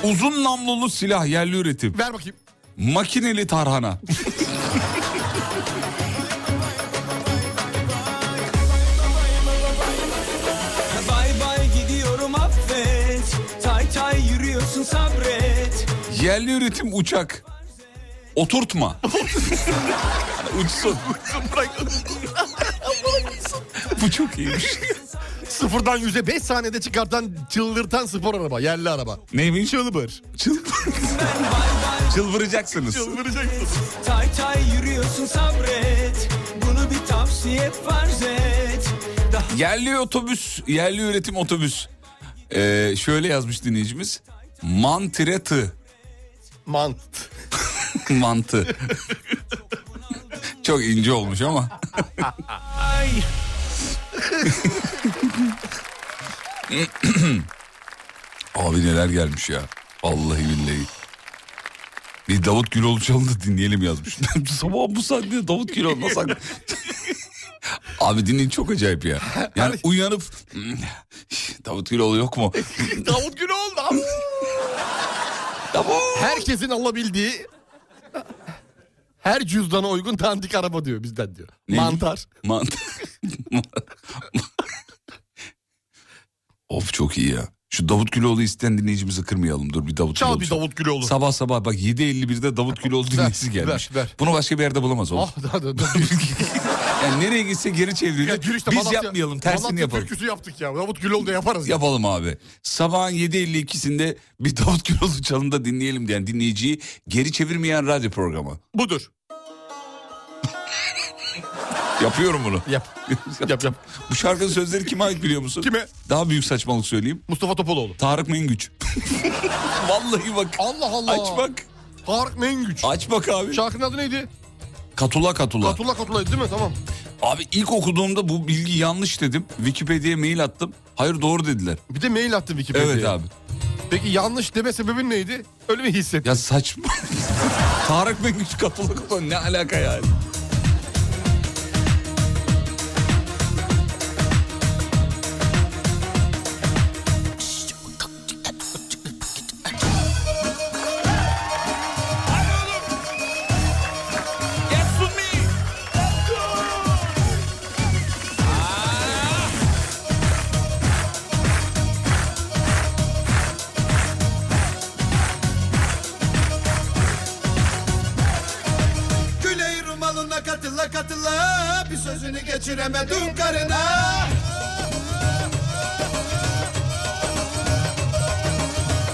Speaker 3: Uzun namlulu silah yerli üretim.
Speaker 4: Ver bakayım.
Speaker 3: Makineli tarhana.
Speaker 2: Bay bay gidiyorum affet Tay tay yürüyorsun sabret
Speaker 3: Yerli üretim uçak. Oturtma. Hani Uçsun. Bu çok iyiymiş.
Speaker 4: Sıfırdan yüze 5 saniyede çıkartan çıldırtan spor araba. Yerli araba.
Speaker 3: Neymiş?
Speaker 4: Çılbır.
Speaker 3: Çılbır. Çılbıracaksınız.
Speaker 2: Tay tay yürüyorsun sabret Bunu bir tavsiye farz et Daha
Speaker 3: Yerli otobüs, yerli üretim otobüs. Ee, şöyle yazmış dinleyicimiz. Mantiretı.
Speaker 4: Mant.
Speaker 3: Mantı. Çok ince olmuş ama. Abi neler gelmiş ya. Vallahi billahi. Bir Davut Güloğlu çalın da dinleyelim yazmış. Sabah bu saatte Davut Güloğlu nasıl aklı- Abi dinleyin çok acayip ya. Yani uyanıp "Hmm, Davut Güloğlu yok mu?
Speaker 4: Davut Güloğlu. am- Herkesin alabildiği her cüzdana uygun dandik araba diyor bizden diyor.
Speaker 3: Neydi?
Speaker 4: Mantar.
Speaker 3: Mant. of çok iyi ya. Şu Davut Güloğlu isteyen dinleyicimizi kırmayalım. Dur bir Davut
Speaker 4: Çal
Speaker 3: Güloğlu
Speaker 4: bir
Speaker 3: çal.
Speaker 4: Davut Güloğlu.
Speaker 3: Sabah sabah bak 7.51'de Davut Güloğlu dinleyicisi
Speaker 4: ver,
Speaker 3: gelmiş.
Speaker 4: ver.
Speaker 3: Bunu başka bir yerde bulamaz o.
Speaker 4: Ah, da, da, da.
Speaker 3: Yani nereye gitse geri
Speaker 4: Ya
Speaker 3: çeviriyor.
Speaker 4: dürüst de
Speaker 3: Biz
Speaker 4: Malatya-
Speaker 3: yapmayalım tersini
Speaker 4: Malatya
Speaker 3: yapalım.
Speaker 4: türküsü yaptık ya. Davut Güloğlu da yaparız. ya.
Speaker 3: Yapalım abi. Sabahın 7.52'sinde bir Davut Güloğlu çalında dinleyelim diyen dinleyiciyi geri çevirmeyen radyo programı.
Speaker 4: Budur.
Speaker 3: Yapıyorum bunu.
Speaker 4: Yap. yap yap.
Speaker 3: Bu şarkının sözleri kime ait biliyor musun?
Speaker 4: Kime?
Speaker 3: Daha büyük saçmalık söyleyeyim.
Speaker 4: Mustafa Topaloğlu.
Speaker 3: Tarık Mengüç. Vallahi bak.
Speaker 4: Allah Allah.
Speaker 3: Aç bak.
Speaker 4: Tarık Mengüç.
Speaker 3: Aç bak abi.
Speaker 4: Şarkının adı neydi?
Speaker 3: Katula katula.
Speaker 4: Katula Katula değil mi? Tamam.
Speaker 3: Abi ilk okuduğumda bu bilgi yanlış dedim. Wikipedia'ya mail attım. Hayır doğru dediler.
Speaker 4: Bir de mail attın Wikipedia'ya.
Speaker 3: Evet abi.
Speaker 4: Peki yanlış deme sebebin neydi? Öyle mi hissettin?
Speaker 3: Ya saçma. Tarık Mengüç katula katula ne alaka yani?
Speaker 11: Güney Rumalı'na katıla katıla Bir sözünü geçiremedim karına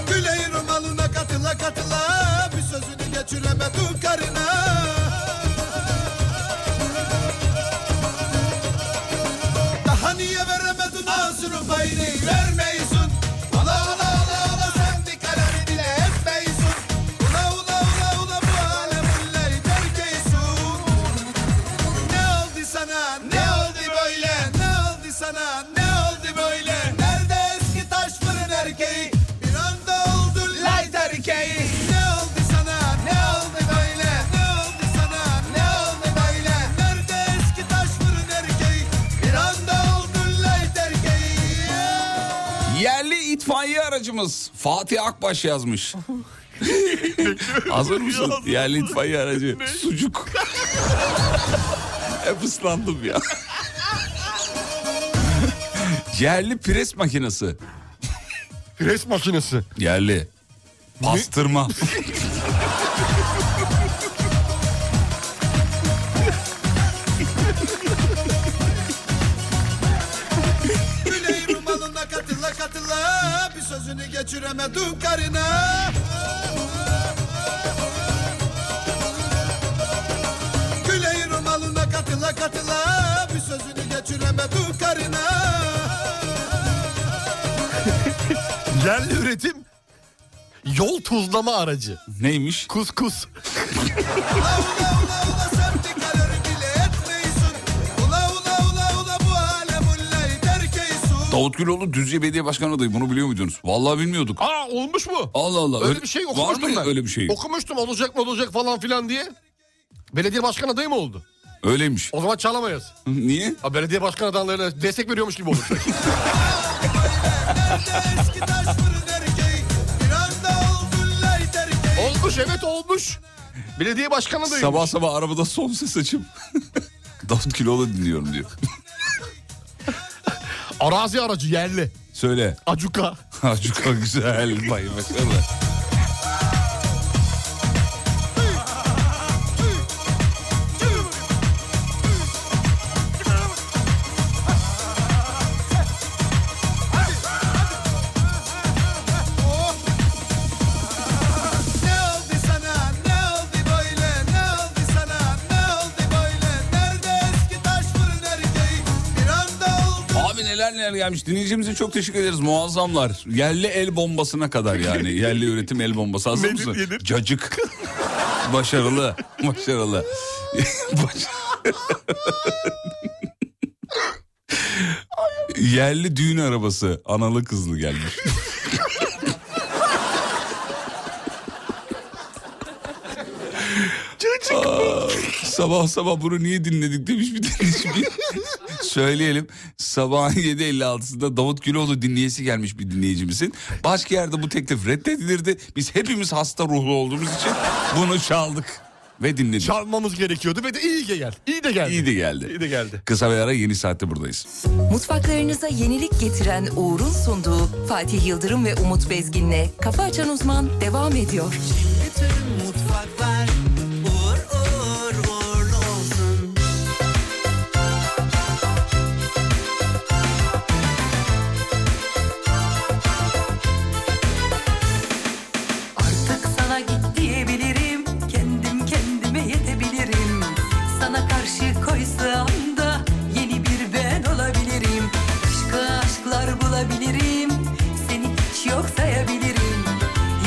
Speaker 11: Güney Rumalı'na katıla katıla Bir sözünü geçiremedim karına Daha niye veremedin ağzını payını vermeysin Ala ala ala ala sen bir kararı dile etmeysin Ula ula ula ula bu alem ulleyi terk eysin Ne oldu sana ne oldu böyle Ne oldu sana ne oldu böyle Nerede eski taş fırın erkeği Bir anda oldun light erkeği Ne oldu sana ne oldu böyle Ne oldu sana ne oldu böyle Nerede eski taş fırın erkeği Bir anda oldun light erkeği
Speaker 3: Yerli itfaiye aracımız Fatih Akbaş yazmış. Hazır mısın? Yerli itfaiye aracı. Sucuk. Hep ıslandım ya. Yerli pres makinesi.
Speaker 4: Pres makinesi.
Speaker 3: Yerli. Pastırma.
Speaker 11: Güney Rumalı'na katıla katıla Bir sözünü geçiremedim karına Güney Rumalı'na katıla katıla Bir sözünü geçiremedim karına
Speaker 4: Yerli üretim. Yol tuzlama aracı.
Speaker 3: Neymiş?
Speaker 4: Kuskus.
Speaker 11: Ula ula ula ula sen bir kararı bile etmeysin Ula ula ula ula bu alem ullayı terk eysin
Speaker 3: Davut Güloğlu Düzce Belediye Başkanı adayı. Bunu biliyor muydunuz? Vallahi bilmiyorduk.
Speaker 4: Aa olmuş mu?
Speaker 3: Allah Allah.
Speaker 4: Öyle bir şey okumuştum
Speaker 3: Var mı
Speaker 4: ben.
Speaker 3: öyle bir şey?
Speaker 4: Okumuştum olacak mı olacak falan filan diye. Belediye başkan adayı mı oldu?
Speaker 3: Öyleymiş.
Speaker 4: O zaman çalamayız.
Speaker 3: Niye?
Speaker 4: Ha, belediye başkan adaylarına destek veriyormuş gibi olur.
Speaker 11: Eski taş fırın erkeği Bir anda oldun lay terk
Speaker 4: olmuş evet olmuş. Belediye başkan adayı.
Speaker 3: Sabah sabah arabada son ses açıp Davut Güloğlu dinliyorum diyor.
Speaker 4: Arazi aracı yerli.
Speaker 3: Söyle.
Speaker 4: Acuka.
Speaker 3: Ha, Çok güzel. Bay başarılı.
Speaker 11: Oh. Ne oldu sana ne oldu böyle ne oldu sana ne oldu böyle Nerede eski taş fırın erkeği bir anda oldu
Speaker 3: Abi neler neler neler gelmiş. Dinleyicimize çok teşekkür ederiz. Muazzamlar. Yerli el bombasına kadar yani. Yerli üretim el bombası. Hazır mısın? Cacık. Başarılı. Başarılı. Baş- Yerli düğün arabası. Analı kızlı gelmiş. Aa, sabah sabah bunu niye dinledik demiş bir dinleyici. Bir- Söyleyelim. Sabahın 7.56'sında Davut Güloğlu dinleyesi gelmiş bir dinleyicimizin. Başka yerde bu teklif reddedilirdi. Biz hepimiz hasta ruhlu olduğumuz için bunu çaldık ve dinledik.
Speaker 4: Çalmamız gerekiyordu ve de iyi ki gel. İyi de geldi.
Speaker 3: İyi de geldi.
Speaker 4: İyi de geldi.
Speaker 3: Kısa bir ara yeni saatte buradayız.
Speaker 9: Mutfaklarınıza yenilik getiren Uğur'un sunduğu Fatih Yıldırım ve Umut Bezgin'le Kafa Açan Uzman devam ediyor.
Speaker 1: Bütün mutfaklar uğur uğur uğurlu olsun.
Speaker 2: Artık sana git diyebilirim Kendim kendime yetebilirim Sana karşı koysam da Yeni bir ben olabilirim Aşka aşklar bulabilirim Seni hiç yok sayabilirim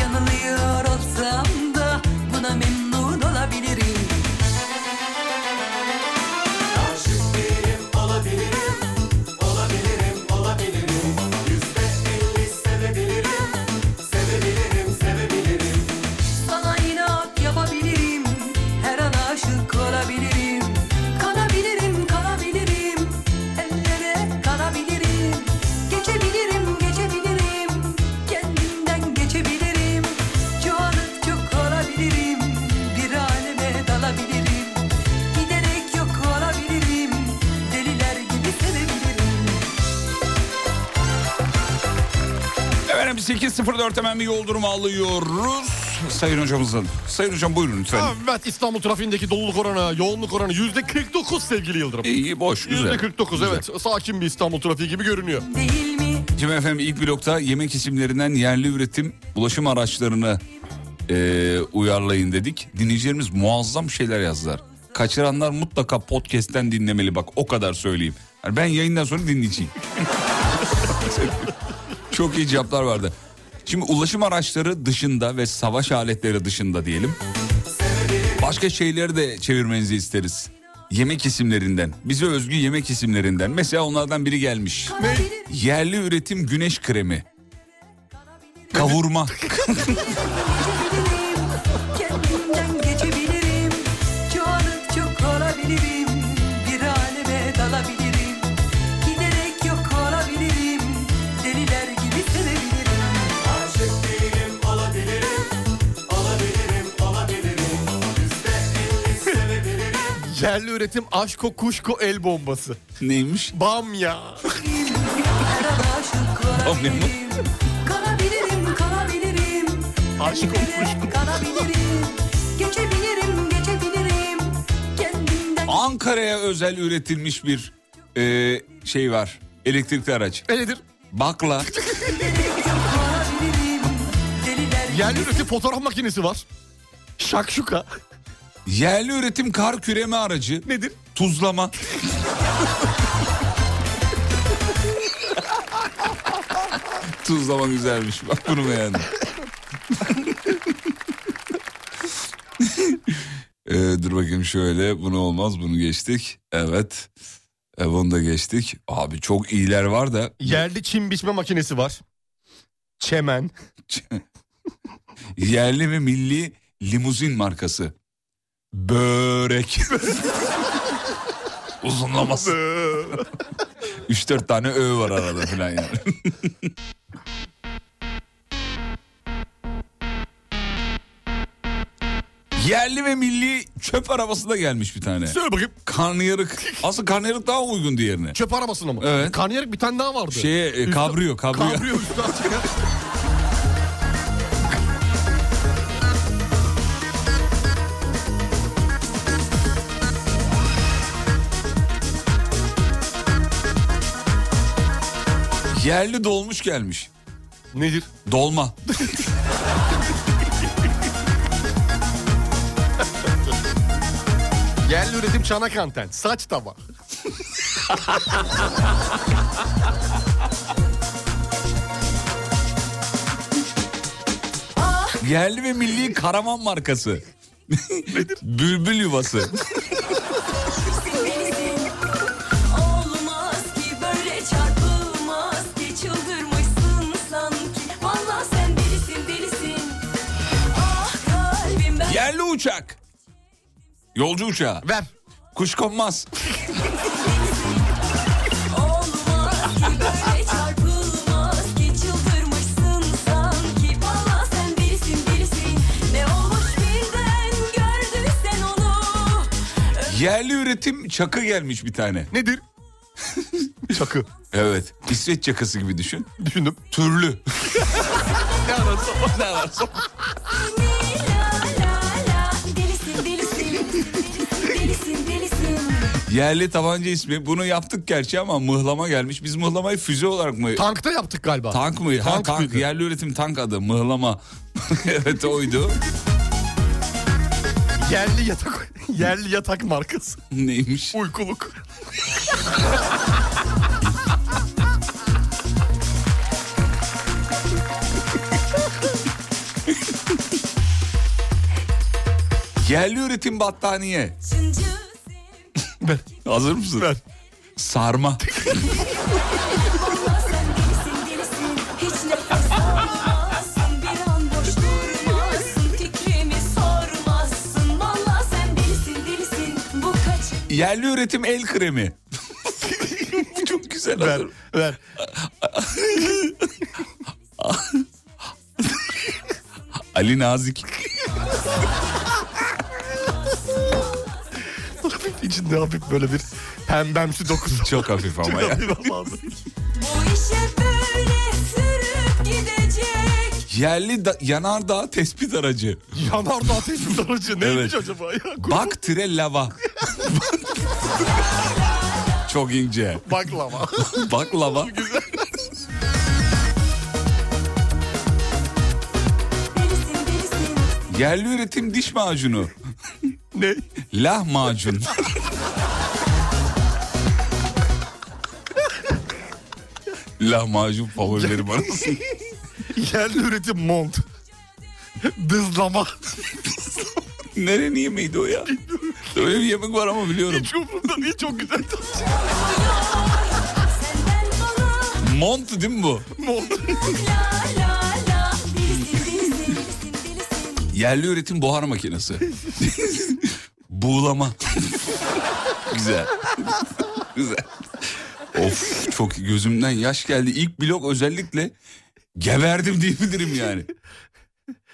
Speaker 2: Yanılıyor olsam da Buna memnun olabilirim Sana inat yapabilirim Her an aşık olabilirim Kanabilirim kanabilirim Ellere kanabilirim Geçebilirim geçebilirim Kendimden geçebilirim Çoğalıp çok olabilirim Bir aleme dalabilirim Giderek yok olabilirim Deliler gibi sevebilirim
Speaker 3: Efendim 8.04 hemen bir yol durumu alıyoruz. Sayın hocamızın. Sayın hocam buyurun lütfen.
Speaker 4: Evet İstanbul trafiğindeki doluluk oranı, yoğunluk oranı yüzde 49 sevgili Yıldırım.
Speaker 3: İyi boş
Speaker 4: Yüzde
Speaker 3: güzel.
Speaker 4: 49 evet. Sakin bir İstanbul trafiği gibi görünüyor.
Speaker 2: Değil mi?
Speaker 3: Şimdi efendim ilk blokta yemek isimlerinden yerli üretim ulaşım araçlarını eee, uyarlayın dedik. Dinleyicilerimiz muazzam şeyler yazdılar. Kaçıranlar mutlaka podcast'ten dinlemeli bak o kadar söyleyeyim. Yani ben yayından sonra dinleyeceğim. Çok iyi cevaplar vardı. Şimdi ulaşım araçları dışında ve savaş aletleri dışında diyelim. Başka şeyleri de çevirmenizi isteriz. Yemek isimlerinden, bize özgü yemek isimlerinden. Mesela onlardan biri gelmiş. Yerli üretim güneş kremi. Kavurma.
Speaker 2: Geçebilirim, kendimden geçebilirim. Çoğalıp çok olabilirim, bir aleme dalabilirim. Giderek yok olabilirim, deliler gibi sevebilirim.
Speaker 4: Yerli üretim aşko kuşko el bombası.
Speaker 3: Neymiş?
Speaker 4: Bam ya.
Speaker 2: Her an aşık olabilirim, kalabilirim, kalabilirim.
Speaker 4: Aşko kuşko.
Speaker 2: Kendimden kalabilirim, geçebilirim, geçebilirim. Kendimden
Speaker 3: Ankara'ya özel üretilmiş bir e, şey var. Elektrikli araç.
Speaker 4: E nedir?
Speaker 3: Bakla.
Speaker 2: giderek yok olabilirim, deliler gibi
Speaker 4: Yerli üretim fotoğraf makinesi var. Şakşuka.
Speaker 3: Yerli üretim kar küreme aracı.
Speaker 4: Nedir?
Speaker 3: Tuzlama. Tuzlama güzelmiş. Bak bunu beğendim. Ee, dur bakayım şöyle. Bunu olmaz. Bunu geçtik. Evet. E, bunu da geçtik. Abi çok iyiler var da.
Speaker 4: Yerli çim biçme makinesi var. Çemen.
Speaker 3: Yerli ve milli limuzin markası. Börek. Uzunlaması. 3-4 tane ö var arada falan yani. Yerli ve milli çöp arabası da gelmiş bir tane.
Speaker 4: Söyle bakayım.
Speaker 3: Karnıyarık. Aslında karnıyarık daha uygun diğerine.
Speaker 4: Çöp arabasına mı?
Speaker 3: Evet.
Speaker 4: Karnıyarık bir tane daha vardı.
Speaker 3: Şeye e, kabriyo, kabriyo.
Speaker 4: Kabriyo üstü açık ya.
Speaker 3: Yerli dolmuş gelmiş.
Speaker 4: Nedir?
Speaker 3: Dolma.
Speaker 4: Yerli üretim çanak anten. Saç tabağı.
Speaker 3: Yerli ve milli karaman markası. Bülbül yuvası.
Speaker 2: Olmaz ki böyle çarpılmaz ki çıldırmışsın sanki. Vallahi sen delisin delisin. Ah kalbim ben.
Speaker 3: Yerli uçak. Yolcu uçağı.
Speaker 4: Ver.
Speaker 3: Kuş konmaz.
Speaker 2: Olmaz ki böyle çarpılmaz ki çıldırmışsın sanki. Vallahi sen delisin delisin. Ne olmuş birden gördün sen onu.
Speaker 3: Yerli üretim çakı gelmiş bir tane.
Speaker 4: Nedir? Çakı.
Speaker 3: Evet. İsveç çakısı gibi düşün.
Speaker 4: Düşündüm.
Speaker 3: Türlü.
Speaker 4: Ne arası?
Speaker 2: La la la delisin delisin. Delisin delisin.
Speaker 3: Yerli tabanca ismi. Bunu yaptık gerçi ama mıhlama gelmiş. Biz mıhlamayı füze olarak mı...
Speaker 4: Tankta yaptık galiba.
Speaker 3: tank mı? Ha,
Speaker 4: Tank
Speaker 3: tank.
Speaker 4: mıydı?
Speaker 3: Yerli üretim tank adı. Mıhlama. evet oydu.
Speaker 4: Yerli yatak yerli yatak markası.
Speaker 3: Neymiş?
Speaker 4: Uykuluk.
Speaker 3: Yerli üretim battaniye. Hazır mısın? Sarma.
Speaker 2: Hiç nefes almazsın bir an boş durmazsın fikrimi sormazsın valla sen delisin delisin bu kaç
Speaker 3: Yerli üretim el kremi. Çok güzel hazır.
Speaker 4: Ver.
Speaker 3: Ali Nazik.
Speaker 4: İçinde hafif böyle bir pembemsi dokusu.
Speaker 3: Çok hafif ama ya.
Speaker 2: bu işe böyle sürüp gidecek
Speaker 3: Yerli da- yanardağ tespit aracı.
Speaker 4: Yanardağ tespit aracı neymiş
Speaker 3: Evet.
Speaker 4: acaba ya?
Speaker 3: Bak tire lava. Çok ince.
Speaker 4: Baklava.
Speaker 3: Bak lava.
Speaker 2: delisin delisin
Speaker 3: Yerli üretim diş macunu.
Speaker 4: ne?
Speaker 3: Lahmacun. Lahmacun favorilerim arasında.
Speaker 4: Yerli üretim mont. Dızlama.
Speaker 3: Nerenin yemeğiydi o ya? Öyle bir yemek var ama biliyorum.
Speaker 4: Hiç umurumda değil çok güzel.
Speaker 2: senden bana
Speaker 3: Mont değil mi bu?
Speaker 4: mont.
Speaker 2: la la la delisin delisin delisin delisin
Speaker 3: Yerli üretim buhar makinesi. Buğulama. Güzel. Güzel. Of çok gözümden yaş geldi. İlk blok özellikle geberdim diyebilirim yani.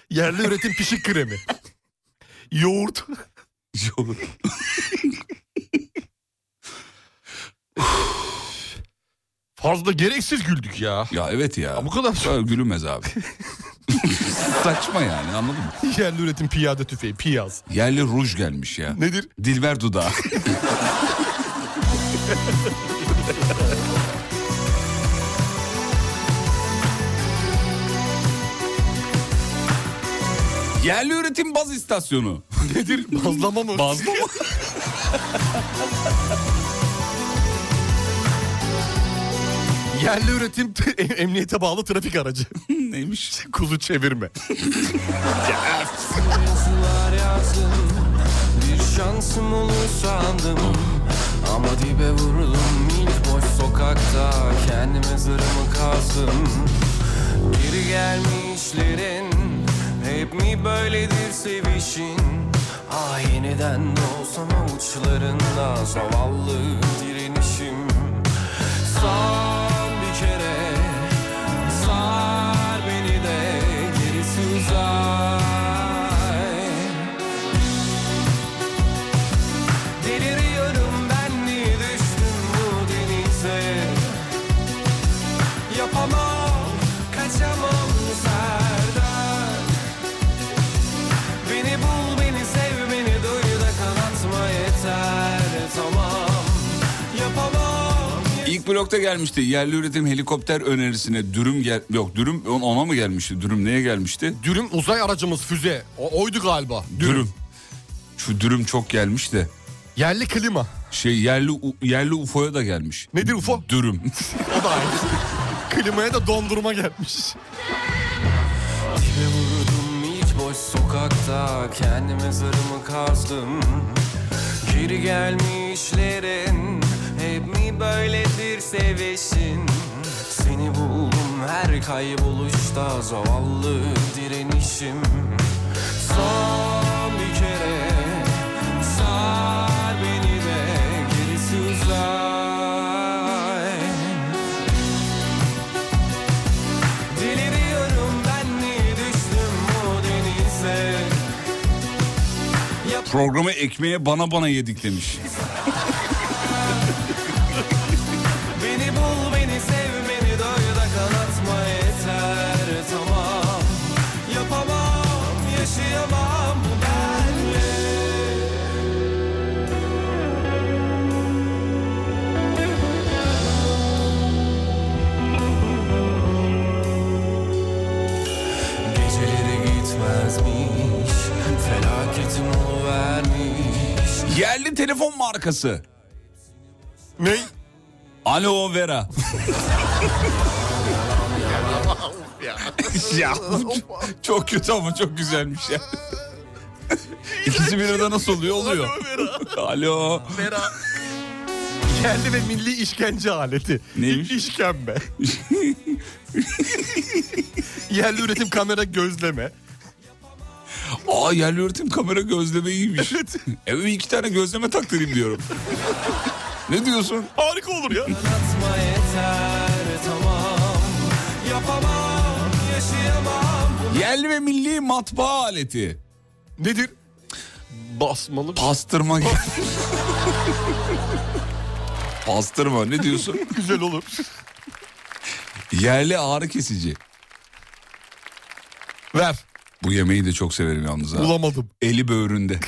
Speaker 4: Yerli üretim pişik kremi. Yoğurt.
Speaker 3: Yoğurt.
Speaker 4: Fazla gereksiz güldük ya.
Speaker 3: Ya evet ya.
Speaker 4: bu kadar.
Speaker 3: Böyle gülünmez abi. Saçma yani anladın mı?
Speaker 4: Yerli üretim piyade tüfeği. Piyaz.
Speaker 3: Yerli ruj gelmiş ya.
Speaker 4: Nedir?
Speaker 3: Dilber dudağı. Yerli üretim baz istasyonu.
Speaker 4: Nedir? Bazlama mı?
Speaker 3: Bazlı mı?
Speaker 4: Yerli üretim t- em- emniyete bağlı trafik aracı.
Speaker 3: Neymiş?
Speaker 4: Kuzu çevirme.
Speaker 8: Yazılar yazdım Bir şansım olur sandım Ama dibe vuruldum ilk boş sokakta Kendime zırhımı kalsın Geri gelmişlerin Hep mi böyledir sevişin Ah yeniden doğsam avuçlarında Zavallı direnişim Son bir kere Sar beni de gerisi uzay Deliriyorum ben niye düştüm bu denize Yapamam kaçamam Serdar Beni bul beni sev beni duy da kanatma yeter Tamam yapamam
Speaker 3: İlk blokta gelmişti. Yerli üretim helikopter önerisine dürüm gel... Yok dürüm on- ona mı gelmişti? Dürüm neye gelmişti?
Speaker 4: Dürüm uzay aracımız füze. O, oydu galiba.
Speaker 3: Dürüm. Şu dürüm çok gelmiş de.
Speaker 4: Yerli klima.
Speaker 3: Şey yerli u- yerli UFO'ya da gelmiş.
Speaker 4: Nedir UFO?
Speaker 3: Dürüm.
Speaker 4: O da aynı. Klimaya da dondurma gelmiş.
Speaker 8: Dibe vurdum ilk Sokakta kendime zarımı kazdım Geri gelmişlerin Hep mi böyledir sevişin Seni buldum her kayboluşta Zavallı direnişim Son bir kere Sar beni de Gerisi uzay Deliriyorum ben mi düştüm bu denize
Speaker 3: Programı ekmeğe bana bana yedik demiş.
Speaker 8: Beni bul beni sev beni doy da kanatma yeter tamam Yapamam yaşayamam bu benle Geceleri gitmezmiş Felaketim oluvermiş
Speaker 3: Yerli telefon markası.
Speaker 4: Ne?
Speaker 3: Alo Vera. ya çok kötü ama çok güzelmiş ya. İkisi bir arada nasıl oluyor? Oluyor. Alo.
Speaker 4: Vera. Yerli ve milli işkence aleti.
Speaker 3: Neymiş?
Speaker 4: İşkembe. Yerli üretim kamera gözleme.
Speaker 3: Aa yerli üretim kamera gözleme iyiymiş. Eve iki tane gözleme taktırayım diyorum. ne diyorsun?
Speaker 4: Harika olur ya.
Speaker 8: Kanatma yeter tamam Yapamam yaşayamam bu
Speaker 3: Yerli ve milli matbaa aleti.
Speaker 4: Nedir? Basmalı.
Speaker 3: Pastırma. Pastırma ne diyorsun?
Speaker 4: Güzel olur.
Speaker 3: Yerli ağrı kesici.
Speaker 4: Ver.
Speaker 3: Bu yemeği de çok severim yalnız ha.
Speaker 4: Bulamadım.
Speaker 3: Eli böğründe.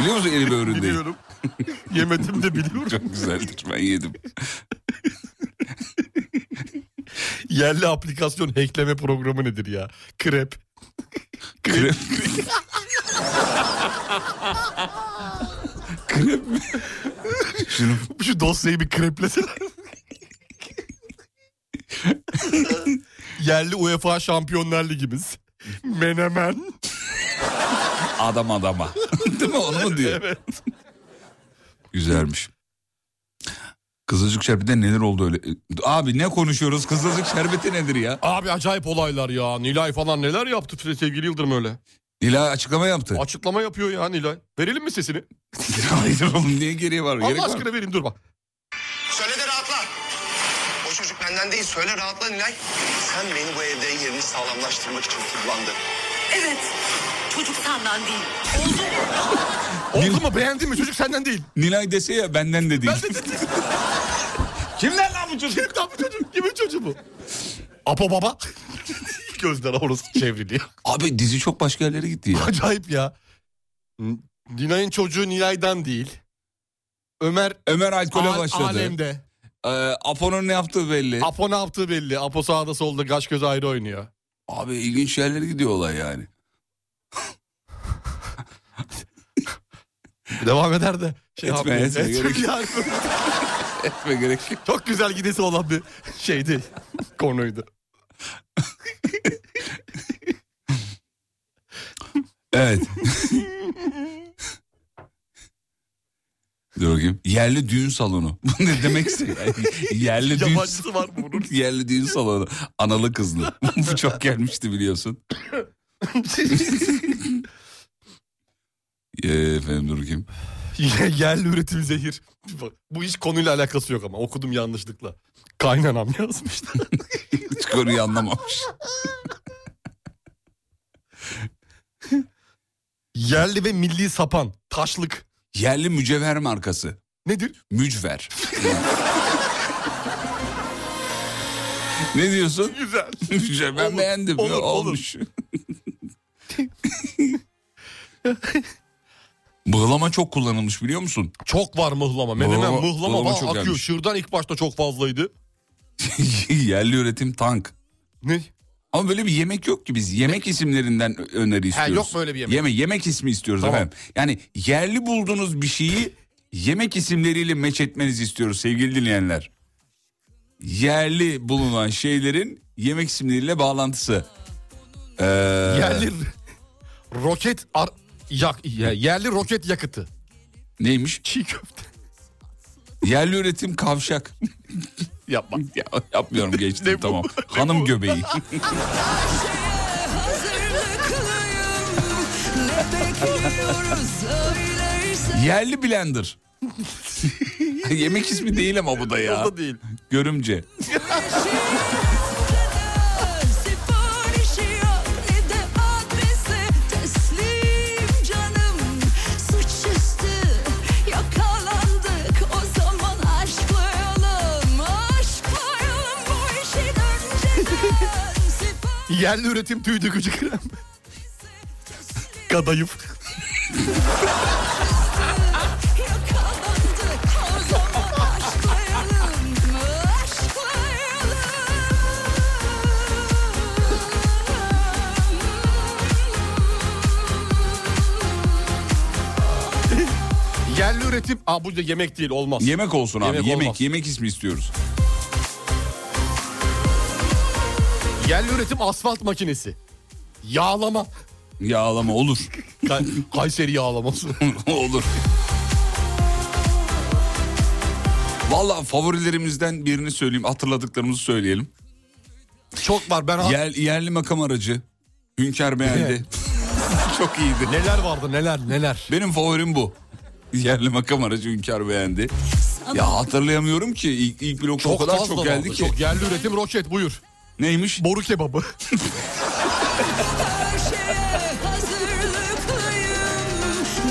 Speaker 3: Biliyor musun eli böğründe?
Speaker 4: Biliyorum. Yemedim de biliyorum.
Speaker 3: Çok güzeldir ben yedim.
Speaker 4: Yerli aplikasyon hackleme programı nedir ya? Krep.
Speaker 3: Krep. Krep mi? Şunu
Speaker 4: Şu dosyayı bir kreplesin. Yerli UEFA Şampiyonlar Ligimiz. Menemen.
Speaker 3: adam adama. Değil mi onu mu diyor?
Speaker 4: Evet.
Speaker 3: Güzelmiş. Kızılcık şerbeti neler oldu öyle? Abi ne konuşuyoruz? Kızılcık şerbeti nedir ya?
Speaker 4: Abi acayip olaylar ya. Nilay falan neler yaptı sevgili Yıldırım öyle.
Speaker 3: Nilay açıklama yaptı.
Speaker 4: Açıklama yapıyor ya Nilay. Verelim mi sesini?
Speaker 3: Hayır oğlum niye geriye var? Gerek
Speaker 4: Allah
Speaker 3: var mı?
Speaker 4: aşkına vereyim dur bak.
Speaker 12: Söyle de rahatla. O çocuk benden değil söyle rahatla Nilay. Sen beni bu evde yerini sağlamlaştırmak için kullandın.
Speaker 1: Evet. Çocuk senden değil.
Speaker 4: Oldu mu beğendin mi çocuk senden değil.
Speaker 3: Nilay dese ya benden de değil.
Speaker 4: Kimler lan bu çocuk? Kim lan bu çocuk? Kimin çocuğu bu? Apo baba. Gözler orası çevrili.
Speaker 3: Abi dizi çok başka yerlere gitti ya.
Speaker 4: Acayip ya. N- Nilay'ın çocuğu Nilay'dan değil. Ömer
Speaker 3: Ömer alkole
Speaker 4: al-
Speaker 3: başladı.
Speaker 4: alemde.
Speaker 3: Ee, Apo'nun ne yaptığı belli.
Speaker 4: Apo ne yaptığı belli. Apo sağda solda kaş göz ayrı oynuyor.
Speaker 3: Abi ilginç yerlere gidiyor olay yani.
Speaker 4: Devam eder de. Şey
Speaker 3: Etme,
Speaker 4: yapmayın.
Speaker 3: etme,
Speaker 4: Et-
Speaker 3: gerek
Speaker 4: Yani böyle
Speaker 3: Etme gerek yok.
Speaker 4: Çok güzel gidesi olan bir şey değil. Konuydu.
Speaker 3: Evet. Dur bakayım. Yerli düğün salonu. Bu ne demekse yani. Yerli düğün
Speaker 4: Yabancısı var mı bunun?
Speaker 3: Yerli düğün salonu. Analı kızlı. Bu çok gelmişti biliyorsun. Ee, efendim dur bakayım.
Speaker 4: Yerli üretim zehir. Bak, Bu iş konuyla alakası yok ama okudum yanlışlıkla. Kaynanam yazmıştı.
Speaker 3: Hiç konuyu anlamamış.
Speaker 4: Yerli ve milli sapan. Taşlık.
Speaker 3: Yerli mücevher markası.
Speaker 4: Nedir?
Speaker 3: Mücver. ne diyorsun?
Speaker 4: Güzel.
Speaker 3: Mücver. Ben
Speaker 4: Olur,
Speaker 3: beğendim.
Speaker 4: olur, olur.
Speaker 3: Olmuş. Mıhlama çok kullanılmış biliyor musun?
Speaker 4: Çok var mıhlama. Menemen
Speaker 3: Mıhlama-
Speaker 4: mıhlama,
Speaker 3: mıhlama
Speaker 4: bana
Speaker 3: çok
Speaker 4: akıyor.
Speaker 3: gelmiş.
Speaker 4: Şırdan ilk başta çok fazlaydı.
Speaker 3: Yerli üretim tank.
Speaker 4: Ne?
Speaker 3: Ama böyle bir yemek yok ki biz. Yemek isimlerinden ö- öneri istiyoruz.
Speaker 4: yok mu öyle bir yemek?
Speaker 3: Yeme, yemek ismi istiyoruz
Speaker 4: Tamam.
Speaker 3: efendim. Yani yerli bulduğunuz bir şeyi yemek isimleriyle meç etmenizi istiyoruz sevgili dinleyenler. Yerli bulunan şeylerin yemek isimleriyle bağlantısı. Ee,
Speaker 4: Yerli roket ar- yak, ya- yerli roket yakıtı.
Speaker 3: Neymiş?
Speaker 4: Çiğ köfte.
Speaker 3: Yerli üretim kavşak.
Speaker 4: Yapma.
Speaker 3: Ya, yapmıyorum geçtim tamam. Hanım göbeği.
Speaker 1: Hazırlıklıyım. Ne bekliyoruz söylersen.
Speaker 3: Yerli blender. Yemek ismi değil ama bu da ya.
Speaker 4: O da değil.
Speaker 3: Görümce.
Speaker 2: Siparişi yok ne de adresi teslim canım suçüstü yakalandık o zaman aşklayalım aşklayalım bu işi önceden sipariş
Speaker 4: Yerli üretim tüy dökücü krem. Kadayıf.
Speaker 2: yakalandık o zaman aşklayalım aşklayalım.
Speaker 4: Yerli üretim. Aa bu da yemek değil olmaz.
Speaker 3: Yemek olsun abi.
Speaker 4: Yemek
Speaker 3: Yemek yemek,
Speaker 4: olmaz.
Speaker 3: ismi istiyoruz.
Speaker 4: Yerli üretim asfalt makinesi. Yağlama.
Speaker 3: Yağlama olur.
Speaker 4: Kay- Kayseri yağlaması.
Speaker 3: olur. Valla favorilerimizden birini söyleyeyim. Hatırladıklarımızı söyleyelim.
Speaker 4: Çok var ben ha-
Speaker 3: Yer, yerli makam aracı. Hünkar beğendi. Çok iyiydi.
Speaker 4: neler vardı neler neler.
Speaker 3: Benim favorim bu. Yerli makam aracı Hünkar beğendi. Ya hatırlayamıyorum ki ilk, ilk blokta o kadar
Speaker 4: fazla
Speaker 3: çok geldi
Speaker 4: vardı.
Speaker 3: ki.
Speaker 4: Çok yerli üretim roket buyur.
Speaker 3: Neymiş?
Speaker 4: Boru kebabı.
Speaker 2: Her şeye hazırlıklıyım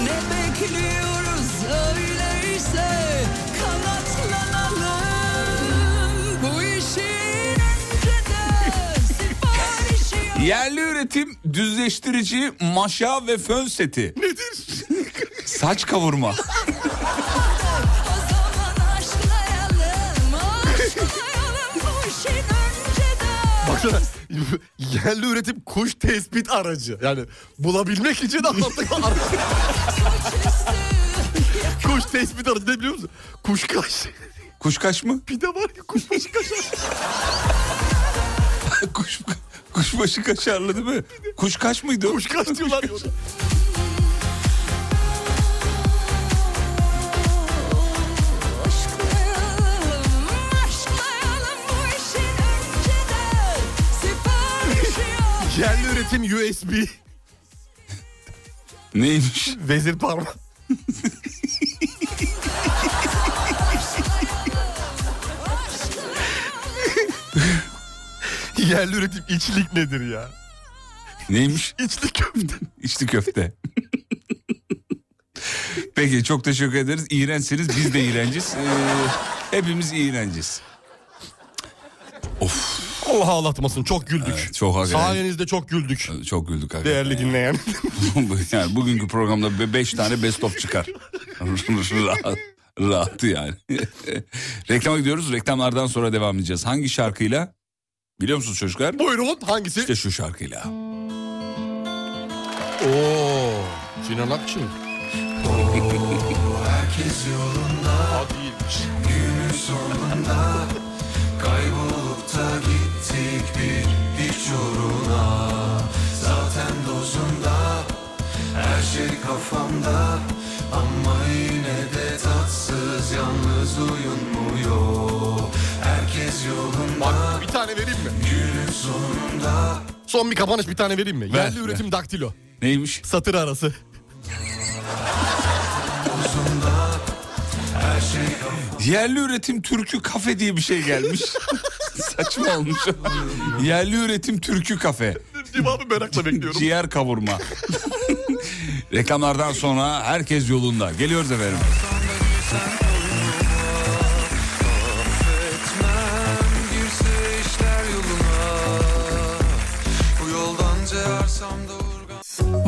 Speaker 2: Ne bekliyoruz öyleyse Kanatlanalım Bu işin önceden siparişi yok
Speaker 3: Yerli üretim düzleştirici maşa ve fön seti. Nedir? Saç kavurma.
Speaker 2: O zaman aşklayalım Aşklayalım bu işin önceden
Speaker 4: Baksana yerli üretim kuş tespit aracı. Yani bulabilmek için artık ara- kuş tespit aracı ne biliyor musun? Kuş kaş.
Speaker 3: Kuşkaş mı?
Speaker 4: Bir de var ya kuş başı kaş.
Speaker 3: Kuş, kuşbaşı kaşarlı değil mi? Kuşkaş mıydı? o?
Speaker 4: Kuş kaş diyorlar ya ona.
Speaker 2: Aşklayalım, aşklayalım bu işin önceden Siparişi yok
Speaker 4: Yerli üretim USB.
Speaker 3: Neymiş?
Speaker 4: Vezir parmağı. Yerli üretim içlik nedir ya?
Speaker 3: Neymiş?
Speaker 4: İçli köfte.
Speaker 3: İçli köfte. Peki çok teşekkür ederiz. İğrençsiniz biz de iğrenciz. Ee, hepimiz iğrenciz.
Speaker 4: Allah ağlatmasın çok güldük.
Speaker 3: Evet, çok hakikaten.
Speaker 4: Sayenizde çok güldük.
Speaker 3: Çok güldük hakikaten.
Speaker 4: Değerli dinleyen.
Speaker 3: yani bugünkü programda 5 tane best of çıkar. Rahat, rahatı yani. Reklama gidiyoruz. Reklamlardan sonra devam edeceğiz. Hangi şarkıyla? Biliyor musunuz çocuklar?
Speaker 4: Buyurun hangisi?
Speaker 3: İşte şu şarkıyla.
Speaker 4: Oo. Sinan Akçın.
Speaker 13: Herkes yolunda Günün sonunda Kaybolup da gittik bir hiç uğruna Zaten dozunda Her şey kafamda Ama yine de tatsız Yalnız uyunmuyor Herkes yolunda
Speaker 4: Bak bir tane vereyim mi?
Speaker 13: Günün sonunda
Speaker 4: Son bir kapanış bir tane vereyim mi?
Speaker 3: Ver,
Speaker 4: Yerli
Speaker 3: ver.
Speaker 4: üretim daktilo.
Speaker 3: Neymiş?
Speaker 4: Satır arası.
Speaker 3: Yerli üretim türkü kafe diye bir şey gelmiş. Saçma olmuş. Yerli üretim türkü kafe.
Speaker 4: Cevabı merakla bekliyorum.
Speaker 3: Ciğer kavurma. Reklamlardan sonra herkes yolunda. Geliyoruz efendim.
Speaker 13: Etmem girse işler yoluna Bu yoldan cevarsam da urgan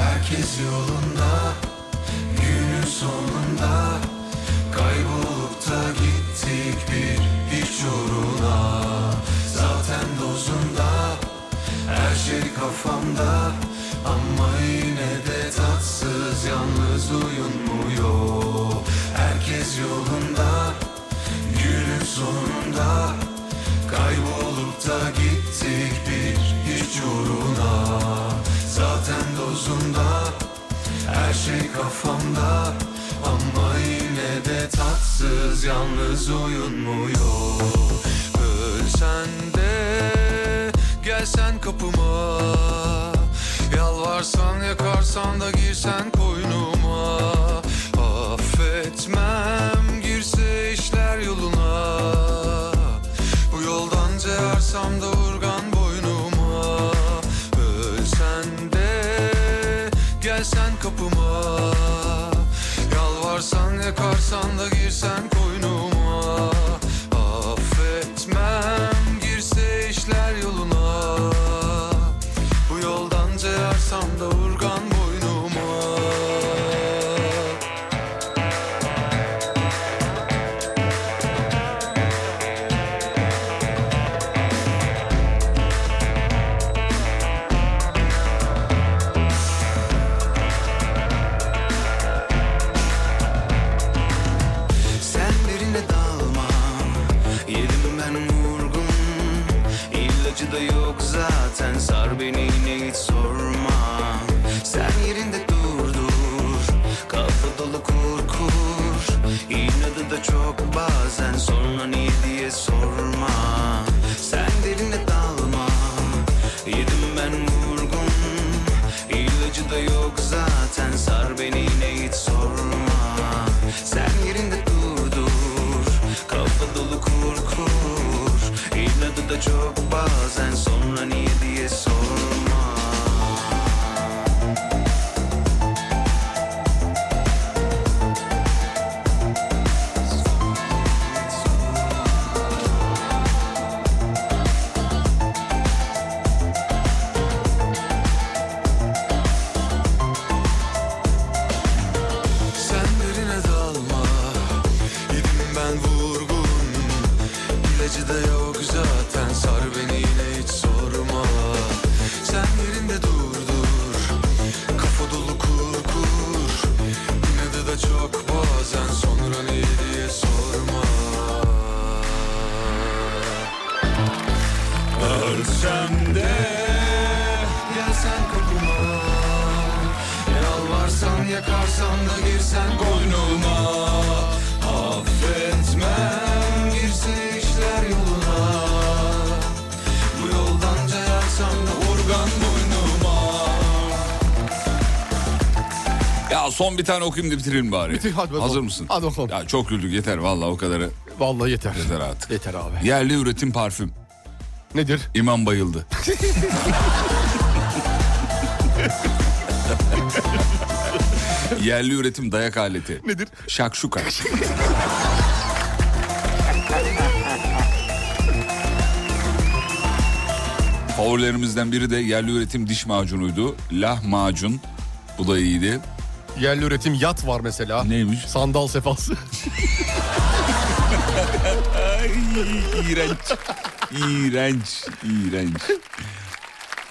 Speaker 13: Herkes yolunda Günün sonunda Kaybolup da gittik bir hiç uğruna Zaten dozunda Her
Speaker 14: fikir şey kafamda Ama yine de tatsız yalnız uyunmuyor Herkes yolunda günün sonunda Kaybolup da gittik bir hiç uğruna Zaten dozunda her şey kafamda Ama yine de tatsız yalnız uyunmuyor Ölsen de gelsen kapıma Yalvarsan yakarsan da girsen koynuma Affetmem girse işler yoluna Bu yoldan ceğersem de urgan boynuma Ölsen de gelsen kapıma Yalvarsan yakarsan da girsen koynuma Affetmem girse işler yoluna Bu yoldan ceğersem de urgan boynuma Sen birine dalmam Yedim ben vurgun İlacı da yok zaten Sar beni yine hiç sorma Sen yerinde dur dur Kafa dolu kur kur İnadı da çok bazen Sonra niye diye sorma Sen derine dalma Yedim ben vurgun İlacı da yok zaten Sar beni yine hiç sorma Sen yerinde dur dur Kafa dolu kur kur İnadı da çok bazen Sonra niye diye sorma Sen derine dalma Yedim ben vurgun İlacı da yok zaten Sar beni yine hiç sorma Sen yerinde dur dur Kafa dolu kur kur İnadı da çok bazen Sonra ne diye sorma Ölsem de Gelsen kapıma Yalvarsan yakarsan da girsen koynuma Affetmem girse işler yoluna Bu yoldan cayarsam da urgan boynuma
Speaker 3: Ya son bir tane okuyayım da bitirelim bari.
Speaker 4: Bitir, hadi bakalım.
Speaker 3: Hazır mısın?
Speaker 4: Hadi bakalım.
Speaker 3: Ya çok güldük yeter vallahi o kadarı
Speaker 4: Vallahi yeter.
Speaker 3: yeter artık.
Speaker 4: Yeter abi.
Speaker 3: Yerli üretim parfüm.
Speaker 4: Nedir?
Speaker 3: İmam bayıldı. Yerli üretim dayak aleti.
Speaker 4: Nedir?
Speaker 3: Şakşuka. Favorilerimizden biri de yerli üretim diş macunuydu. Lahmacun. Bu da iyiydi.
Speaker 4: Yerli üretim yat var mesela.
Speaker 3: Neymiş?
Speaker 4: Sandal sefası.
Speaker 3: İğrenç. İğrenç. İğrenç.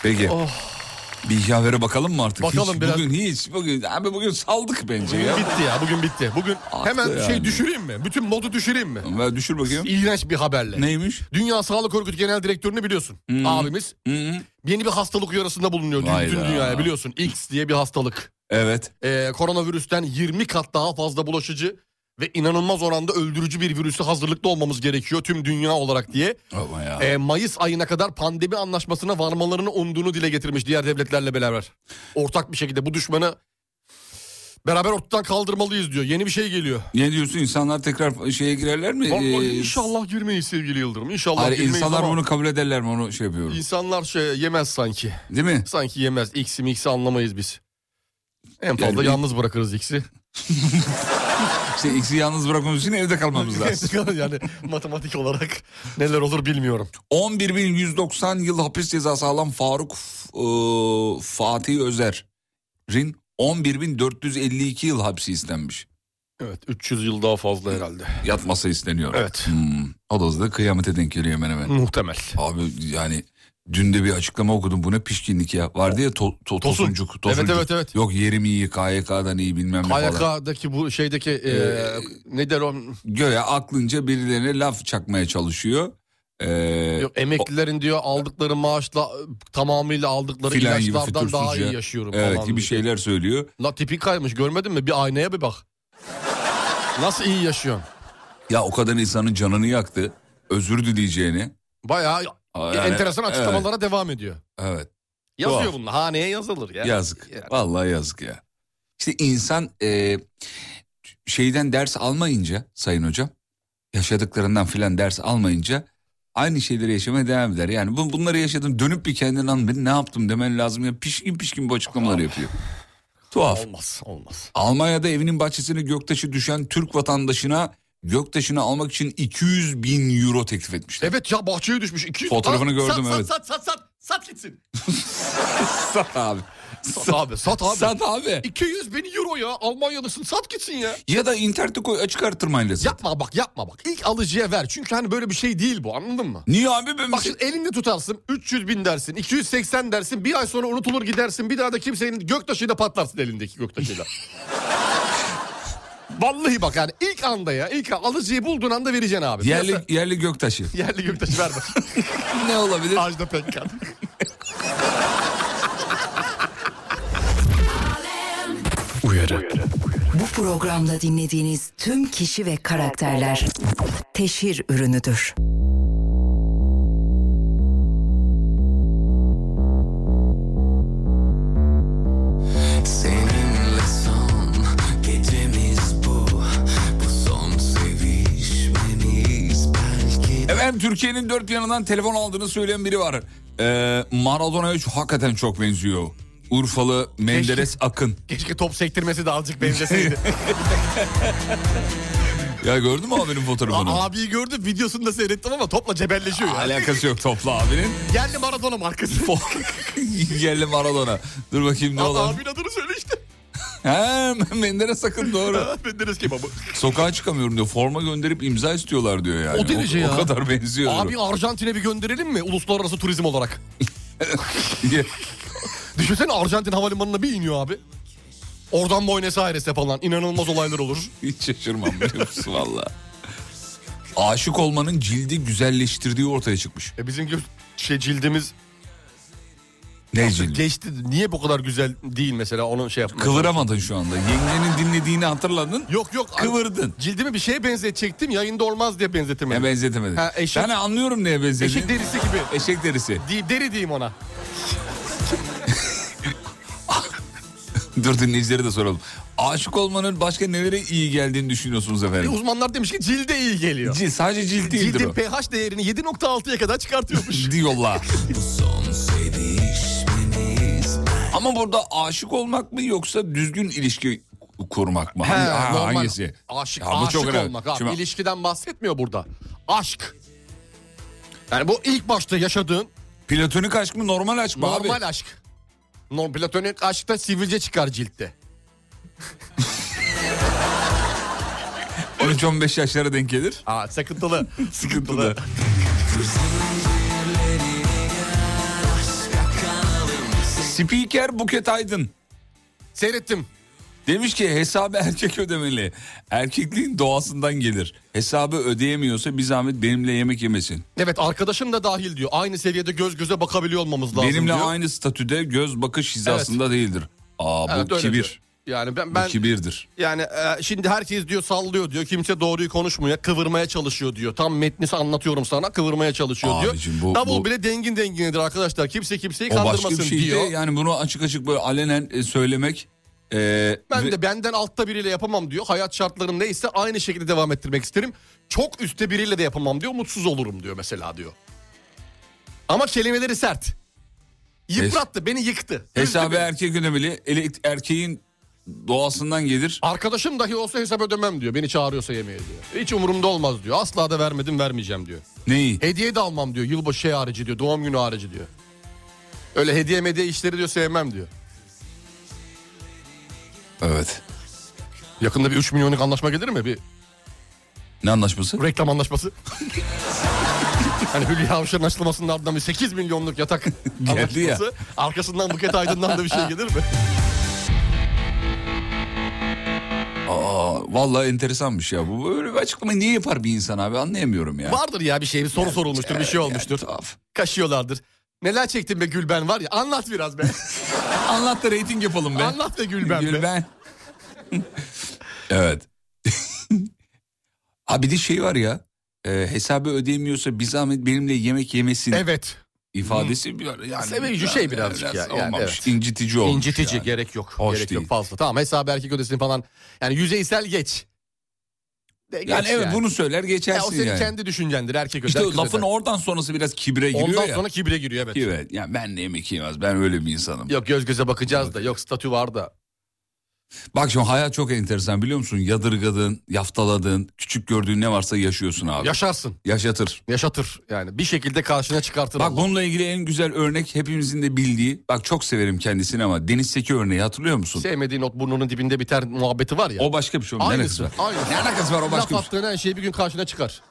Speaker 3: Peki. Bir yavere bakalım mı artık?
Speaker 4: Oh. Bakalım
Speaker 3: hiç,
Speaker 4: biraz.
Speaker 3: Bugün hiç. Bugün, abi bugün saldık bence ya.
Speaker 4: bitti ya bugün bitti. Bugün
Speaker 3: Haklı
Speaker 4: hemen
Speaker 3: yani.
Speaker 4: şey düşüreyim mi? Bütün modu düşüreyim mi?
Speaker 3: Ver düşür bakayım.
Speaker 4: İğrenç bir haberle.
Speaker 3: Neymiş?
Speaker 4: Dünya Sağlık Örgütü Genel Direktörünü biliyorsun. Abimiz
Speaker 3: Hı-hı.
Speaker 4: yeni bir hastalık uyarısında bulunuyor
Speaker 3: Vay
Speaker 4: bütün
Speaker 3: da.
Speaker 4: dünyaya biliyorsun. X diye bir hastalık.
Speaker 3: Evet.
Speaker 4: Ee, koronavirüsten 20 kat daha fazla bulaşıcı ve inanılmaz oranda öldürücü bir virüse hazırlıklı olmamız gerekiyor tüm dünya olarak diye.
Speaker 3: Ama ya.
Speaker 4: Ee, Mayıs ayına kadar pandemi anlaşmasına varmalarını umduğunu dile getirmiş diğer devletlerle beraber. Ortak bir şekilde bu düşmanı beraber ortadan kaldırmalıyız diyor. Yeni bir şey geliyor.
Speaker 3: Ne diyorsun insanlar tekrar şeye girerler mi?
Speaker 4: Vallahi
Speaker 3: Ee,
Speaker 4: inşallah girmeyiz sevgili Yıldırım. İnşallah
Speaker 3: Hayır,
Speaker 4: girmeyiz
Speaker 3: insanlar
Speaker 4: ama
Speaker 3: bunu kabul ederler mi onu şey yapıyorum.
Speaker 4: insanlar şey yemez sanki.
Speaker 3: Değil mi?
Speaker 4: Sanki yemez. X'i mix'i anlamayız biz. En fazla
Speaker 3: Yani-
Speaker 4: yalnız bırakırız X'i.
Speaker 3: İşte X'i yalnız bırakmamız için evde kalmamız lazım.
Speaker 4: yani matematik olarak neler olur bilmiyorum.
Speaker 3: 11.190 yıl hapis cezası alan Faruk F- e, Fatih Özer'in 11.452 yıl hapsi istenmiş.
Speaker 4: Evet 300 yıl daha fazla herhalde.
Speaker 3: Yatması isteniyor.
Speaker 4: Evet.
Speaker 3: Hmm, o da hızlı kıyamete denk geliyor hemen hemen.
Speaker 4: Muhtemel.
Speaker 3: Abi yani Dün de bir açıklama okudum. Bu ne pişkinlik ya. Vardı ya to, to-
Speaker 4: Tosun.
Speaker 3: tosuncuk,
Speaker 4: Evet,
Speaker 3: tosuncuk.
Speaker 4: evet, evet.
Speaker 3: Yok yerim iyi, KYK'dan iyi bilmem ne falan.
Speaker 4: KYK'daki bu şeydeki e,
Speaker 3: Ee,
Speaker 4: ne der o?
Speaker 3: Göre aklınca birilerine laf çakmaya çalışıyor. Ee,
Speaker 4: Yok, emeklilerin diyor aldıkları maaşla tamamıyla aldıkları
Speaker 3: Filan gibi
Speaker 4: ilaçlardan daha iyi
Speaker 3: fütursuzca.
Speaker 4: yaşıyorum
Speaker 3: evet
Speaker 4: falan.
Speaker 3: gibi şeyler söylüyor.
Speaker 4: La tipin kaymış görmedin mi? Bir aynaya bir bak. Nasıl iyi yaşıyorsun?
Speaker 3: Ya o kadar insanın canını yaktı. Özür dileyeceğini.
Speaker 4: Bayağı
Speaker 3: Yani,
Speaker 4: enteresan
Speaker 3: evet,
Speaker 4: açıklamalara devam ediyor.
Speaker 3: Evet,
Speaker 4: Yazıyor
Speaker 3: Tuhaf.
Speaker 4: bunlar. Haneye yazılır ya.
Speaker 3: yazık.
Speaker 4: Yani.
Speaker 3: Vallahi yazık ya. İşte insan e, şeyden ders almayınca sayın hocam yaşadıklarından filan ders almayınca aynı şeyleri yaşamaya devam eder. Yani bu, bunları yaşadım dönüp bir kendine lan ben ne yaptım demen lazım ya pişkin pişkin bu açıklamaları yapıyor. Tuhaf.
Speaker 4: Olmaz olmaz.
Speaker 3: Almanya'da evinin bahçesine göktaşı düşen Türk vatandaşına göktaşını almak için 200 bin euro teklif etmişler.
Speaker 4: Evet ya bahçeye düşmüş. 200
Speaker 3: Fotoğrafını
Speaker 4: Aa,
Speaker 3: gördüm,
Speaker 4: sat,
Speaker 3: evet.
Speaker 4: Sat sat sat sat. Sat gitsin.
Speaker 3: Sat abi.
Speaker 4: Sat abi sat abi.
Speaker 3: Sat abi.
Speaker 4: 200 bin euro ya Almanya'dasın sat gitsin ya.
Speaker 3: Ya da internette koy açık artırmayla sat.
Speaker 4: Yapma bak yapma bak. İlk alıcıya ver. Çünkü hani böyle bir şey değil bu anladın mı?
Speaker 3: Niye abi ben şey-
Speaker 4: Bak şimdi elinde tutarsın 300 bin dersin 280 dersin bir ay sonra unutulur gidersin bir daha da kimsenin göktaşıyla patlarsın elindeki göktaşıyla. Vallahi bak yani ilk anda ya ilk an- alıcıyı bulduğun anda vereceksin abi.
Speaker 3: yerli
Speaker 4: Piyasa-
Speaker 3: yerli göktaşı.
Speaker 4: yerli göktaşı ver bak.
Speaker 3: ne olabilir?
Speaker 4: Ajda Pekkan.
Speaker 9: Bu programda dinlediğiniz tüm kişi ve karakterler teşhir ürünüdür.
Speaker 8: Seninle son gecemiz bu Bu son sevişmemiz belki
Speaker 3: Efendim Türkiye'nin dört yanından telefon aldığını söyleyen biri var. Ee, Maradona'ya şu- hakikaten çok benziyor. Urfalı Menderes Akın.
Speaker 4: Keşke top sektirmesi de azıcık benzeseydi.
Speaker 3: Ya gördün mü abinin fotoğrafını?
Speaker 4: A- abiyi gördüm videosunu da seyrettim ama topla cebelleşiyor ya.
Speaker 3: Alakası yok topla abinin.
Speaker 4: Geldi Maradona markası.
Speaker 3: Yerli Maradona. Dur bakayım ne
Speaker 4: Abi,
Speaker 3: olan.
Speaker 4: abinin adını söyle işte.
Speaker 3: He Menderes Akın doğru.
Speaker 4: Menderes kebabı.
Speaker 3: Sokağa çıkamıyorum diyor. Forma gönderip imza istiyorlar diyor yani.
Speaker 4: O derece ya.
Speaker 3: O kadar benziyor.
Speaker 4: Abi Arjantin'e bir gönderelim mi uluslararası turizm olarak?
Speaker 3: diyor.
Speaker 4: Düşünsene Arjantin havalimanına bir iniyor abi. Oradan Buenos Aires'e falan inanılmaz olaylar olur.
Speaker 3: Hiç şaşırmam biliyor musun valla. Aşık olmanın cildi güzelleştirdiği ortaya çıkmış.
Speaker 4: E bizim gö- şey cildimiz
Speaker 3: Ne cildi?
Speaker 4: geçti. Niye bu kadar güzel değil mesela onu şey yapmak.
Speaker 3: Kıvıramadın şu anda. Yengenin dinlediğini hatırladın.
Speaker 4: Yok yok. ay-
Speaker 3: Kıvırdın.
Speaker 4: Cildimi bir şeye benzetecektim. Yayında olmaz diye
Speaker 3: Ne
Speaker 4: benzetemedim.
Speaker 3: benzetemedin.
Speaker 4: Ha, eşek-
Speaker 3: Ben anlıyorum neye benzediğini.
Speaker 4: Eşek derisi gibi.
Speaker 3: Eşek derisi.
Speaker 4: Di- deri diyeyim ona.
Speaker 3: Dur dinleyicilere de soralım. Aşık olmanın başka nelere iyi geldiğini düşünüyorsunuz
Speaker 4: E,
Speaker 3: efendim?
Speaker 4: uzmanlar demiş ki cilde iyi geliyor.
Speaker 3: Cil, sadece cilt değildir
Speaker 4: Cildin
Speaker 3: o.
Speaker 4: pH değerini 7.6'ya kadar çıkartıyormuş.
Speaker 3: Diyorlar. Ama burada aşık olmak mı yoksa düzgün ilişki kurmak mı? Hangi-
Speaker 4: He,
Speaker 3: ha,
Speaker 4: normal.
Speaker 3: hangisi?
Speaker 4: Aşık,
Speaker 3: Ya bu
Speaker 4: aşık
Speaker 3: çok önemli.
Speaker 4: olmak abi.
Speaker 3: Şimdi-
Speaker 4: İlişkiden bahsetmiyor burada. Aşk. Yani bu ilk başta yaşadığın
Speaker 3: Platonik aşk mı normal aşk mı abi?
Speaker 4: normal aşk. Non platonik aşkta sivilce çıkar ciltte.
Speaker 3: 13-15 yaşlara denk gelir.
Speaker 4: Aa sıkıntılı.
Speaker 3: Sıkıntılı. Spiker Buket Aydın
Speaker 4: Seyrettim.
Speaker 3: demiş ki hesabı erkek ödemeli. Erkekliğin doğasından gelir. Hesabı ödeyemiyorsa bir zahmet benimle yemek yemesin.
Speaker 4: Evet arkadaşım da dahil diyor. Aynı seviyede göz göze bakabiliyor olmamız lazım
Speaker 3: benimle
Speaker 4: diyor.
Speaker 3: aynı statüde göz bakış hizasında değildir. Aa bu
Speaker 4: Evet, öyle diyor.
Speaker 3: kibir.
Speaker 4: Yani ben,
Speaker 3: Bu
Speaker 4: ben
Speaker 3: kibirdir.
Speaker 4: yani e, şimdi herkes diyor sallıyor diyor. Kimse doğruyu konuşmuyor. Kıvırmaya çalışıyor diyor. Tam metni anlatıyorum sana. Kıvırmaya çalışıyor
Speaker 3: Abicim,
Speaker 4: diyor.
Speaker 3: bu-
Speaker 4: Davul
Speaker 3: bu-
Speaker 4: bile dengin denginedir arkadaşlar. Kimse kimseyi
Speaker 3: O
Speaker 4: kandırmasın
Speaker 3: başka bir şey
Speaker 4: diyor.
Speaker 3: de yani bunu açık açık böyle alenen e, söylemek. e,
Speaker 4: Ben
Speaker 3: ve-
Speaker 4: de benden altta biriyle yapamam diyor. Hayat şartlarım neyse aynı şekilde devam ettirmek isterim. Çok üstte biriyle de yapamam diyor. Mutsuz olurum diyor mesela diyor. Ama kelimeleri sert. Yıprattı, beni yıktı. Üzdü
Speaker 3: Hesabı
Speaker 4: beni.
Speaker 3: erkek ödemeli. Ele- Erkeğin doğasından gelir.
Speaker 4: Arkadaşım dahi olsa hesap ödemem diyor. Beni çağırıyorsa yemeğe diyor. Hiç umurumda olmaz diyor. Asla da vermedim, vermeyeceğim diyor.
Speaker 3: Neyi?
Speaker 4: Hediye de almam diyor. Yılbaşı şey harici diyor. Doğum günü harici diyor. Öyle hediye medya işleri diyor sevmem diyor.
Speaker 3: Evet.
Speaker 4: Yakında bir 3 milyonluk anlaşma gelir mi? Bir
Speaker 3: Ne anlaşması?
Speaker 4: reklam anlaşması. Hani Hülya Avşar'ın açılmasının ardından bir 8 milyonluk yatak
Speaker 3: Geldi
Speaker 4: anlaşması. Arkasından Buket Aydın'dan da bir şey gelir mi?
Speaker 3: Aa, vallahi enteresanmış ya. Bu böyle bir açıklama niye yapar bir insan abi anlayamıyorum ya. E,
Speaker 4: Vardır ya bir şey bir soru sorulmuştur bir şey olmuştur.
Speaker 3: Tuhaf.
Speaker 4: Kaşıyorlardır. Neler çektin be Gülben var ya anlat biraz be.
Speaker 3: Anlat da reyting yapalım be.
Speaker 4: anlat be Gülben, be.
Speaker 3: Gülben. evet. abi bir de şey var ya. e, hesabı ödeyemiyorsa bir zahmet benimle yemek yemesin
Speaker 4: Evet.
Speaker 3: ifadesi. bir- Yani,
Speaker 4: Sevimci şey birazcık ya. Yani
Speaker 3: olmamış.
Speaker 4: evet.
Speaker 3: İncitici olmuş.
Speaker 4: İncitici
Speaker 3: yani.
Speaker 4: gerek yok.
Speaker 3: Hoş
Speaker 4: gerek
Speaker 3: değil.
Speaker 4: yok fazla. Tamam hesabı erkek ödesin falan. Yani yüzeysel geç. De, geç
Speaker 3: Yani evet bunu söyler
Speaker 4: Ya o
Speaker 3: geçersin
Speaker 4: senin
Speaker 3: yani.
Speaker 4: kendi düşüncendir erkek öder.
Speaker 3: İşte
Speaker 4: kız
Speaker 3: lafın
Speaker 4: öder.
Speaker 3: oradan sonrası biraz kibre giriyor
Speaker 4: Ondan
Speaker 3: ya.
Speaker 4: sonra kibre giriyor evet.
Speaker 3: Evet. Yani ben de yemek yemez. Ben öyle bir insanım.
Speaker 4: Yok göz göze bakacağız da yok statü var da.
Speaker 3: Bak şimdi hayat çok enteresan biliyor musun? Yadırgadın, yaftaladın, küçük gördüğün ne varsa yaşıyorsun abi.
Speaker 4: Yaşarsın.
Speaker 3: Yaşatır.
Speaker 4: Yaşatır yani bir şekilde karşına çıkartır.
Speaker 3: Bak
Speaker 4: Allah.
Speaker 3: bununla ilgili en güzel örnek hepimizin de bildiği. Bak çok severim kendisini ama Deniz Seki örneği hatırlıyor musun?
Speaker 4: Sevmediğin ot burnunun dibinde biter muhabbeti var ya.
Speaker 3: O başka bir şey. onun Ne alakası
Speaker 4: aynısı.
Speaker 3: var?
Speaker 4: aynısı.
Speaker 3: Ne alakası var o başka
Speaker 4: Laf
Speaker 3: bir şey.
Speaker 4: attığın her şey bir gün karşına çıkar.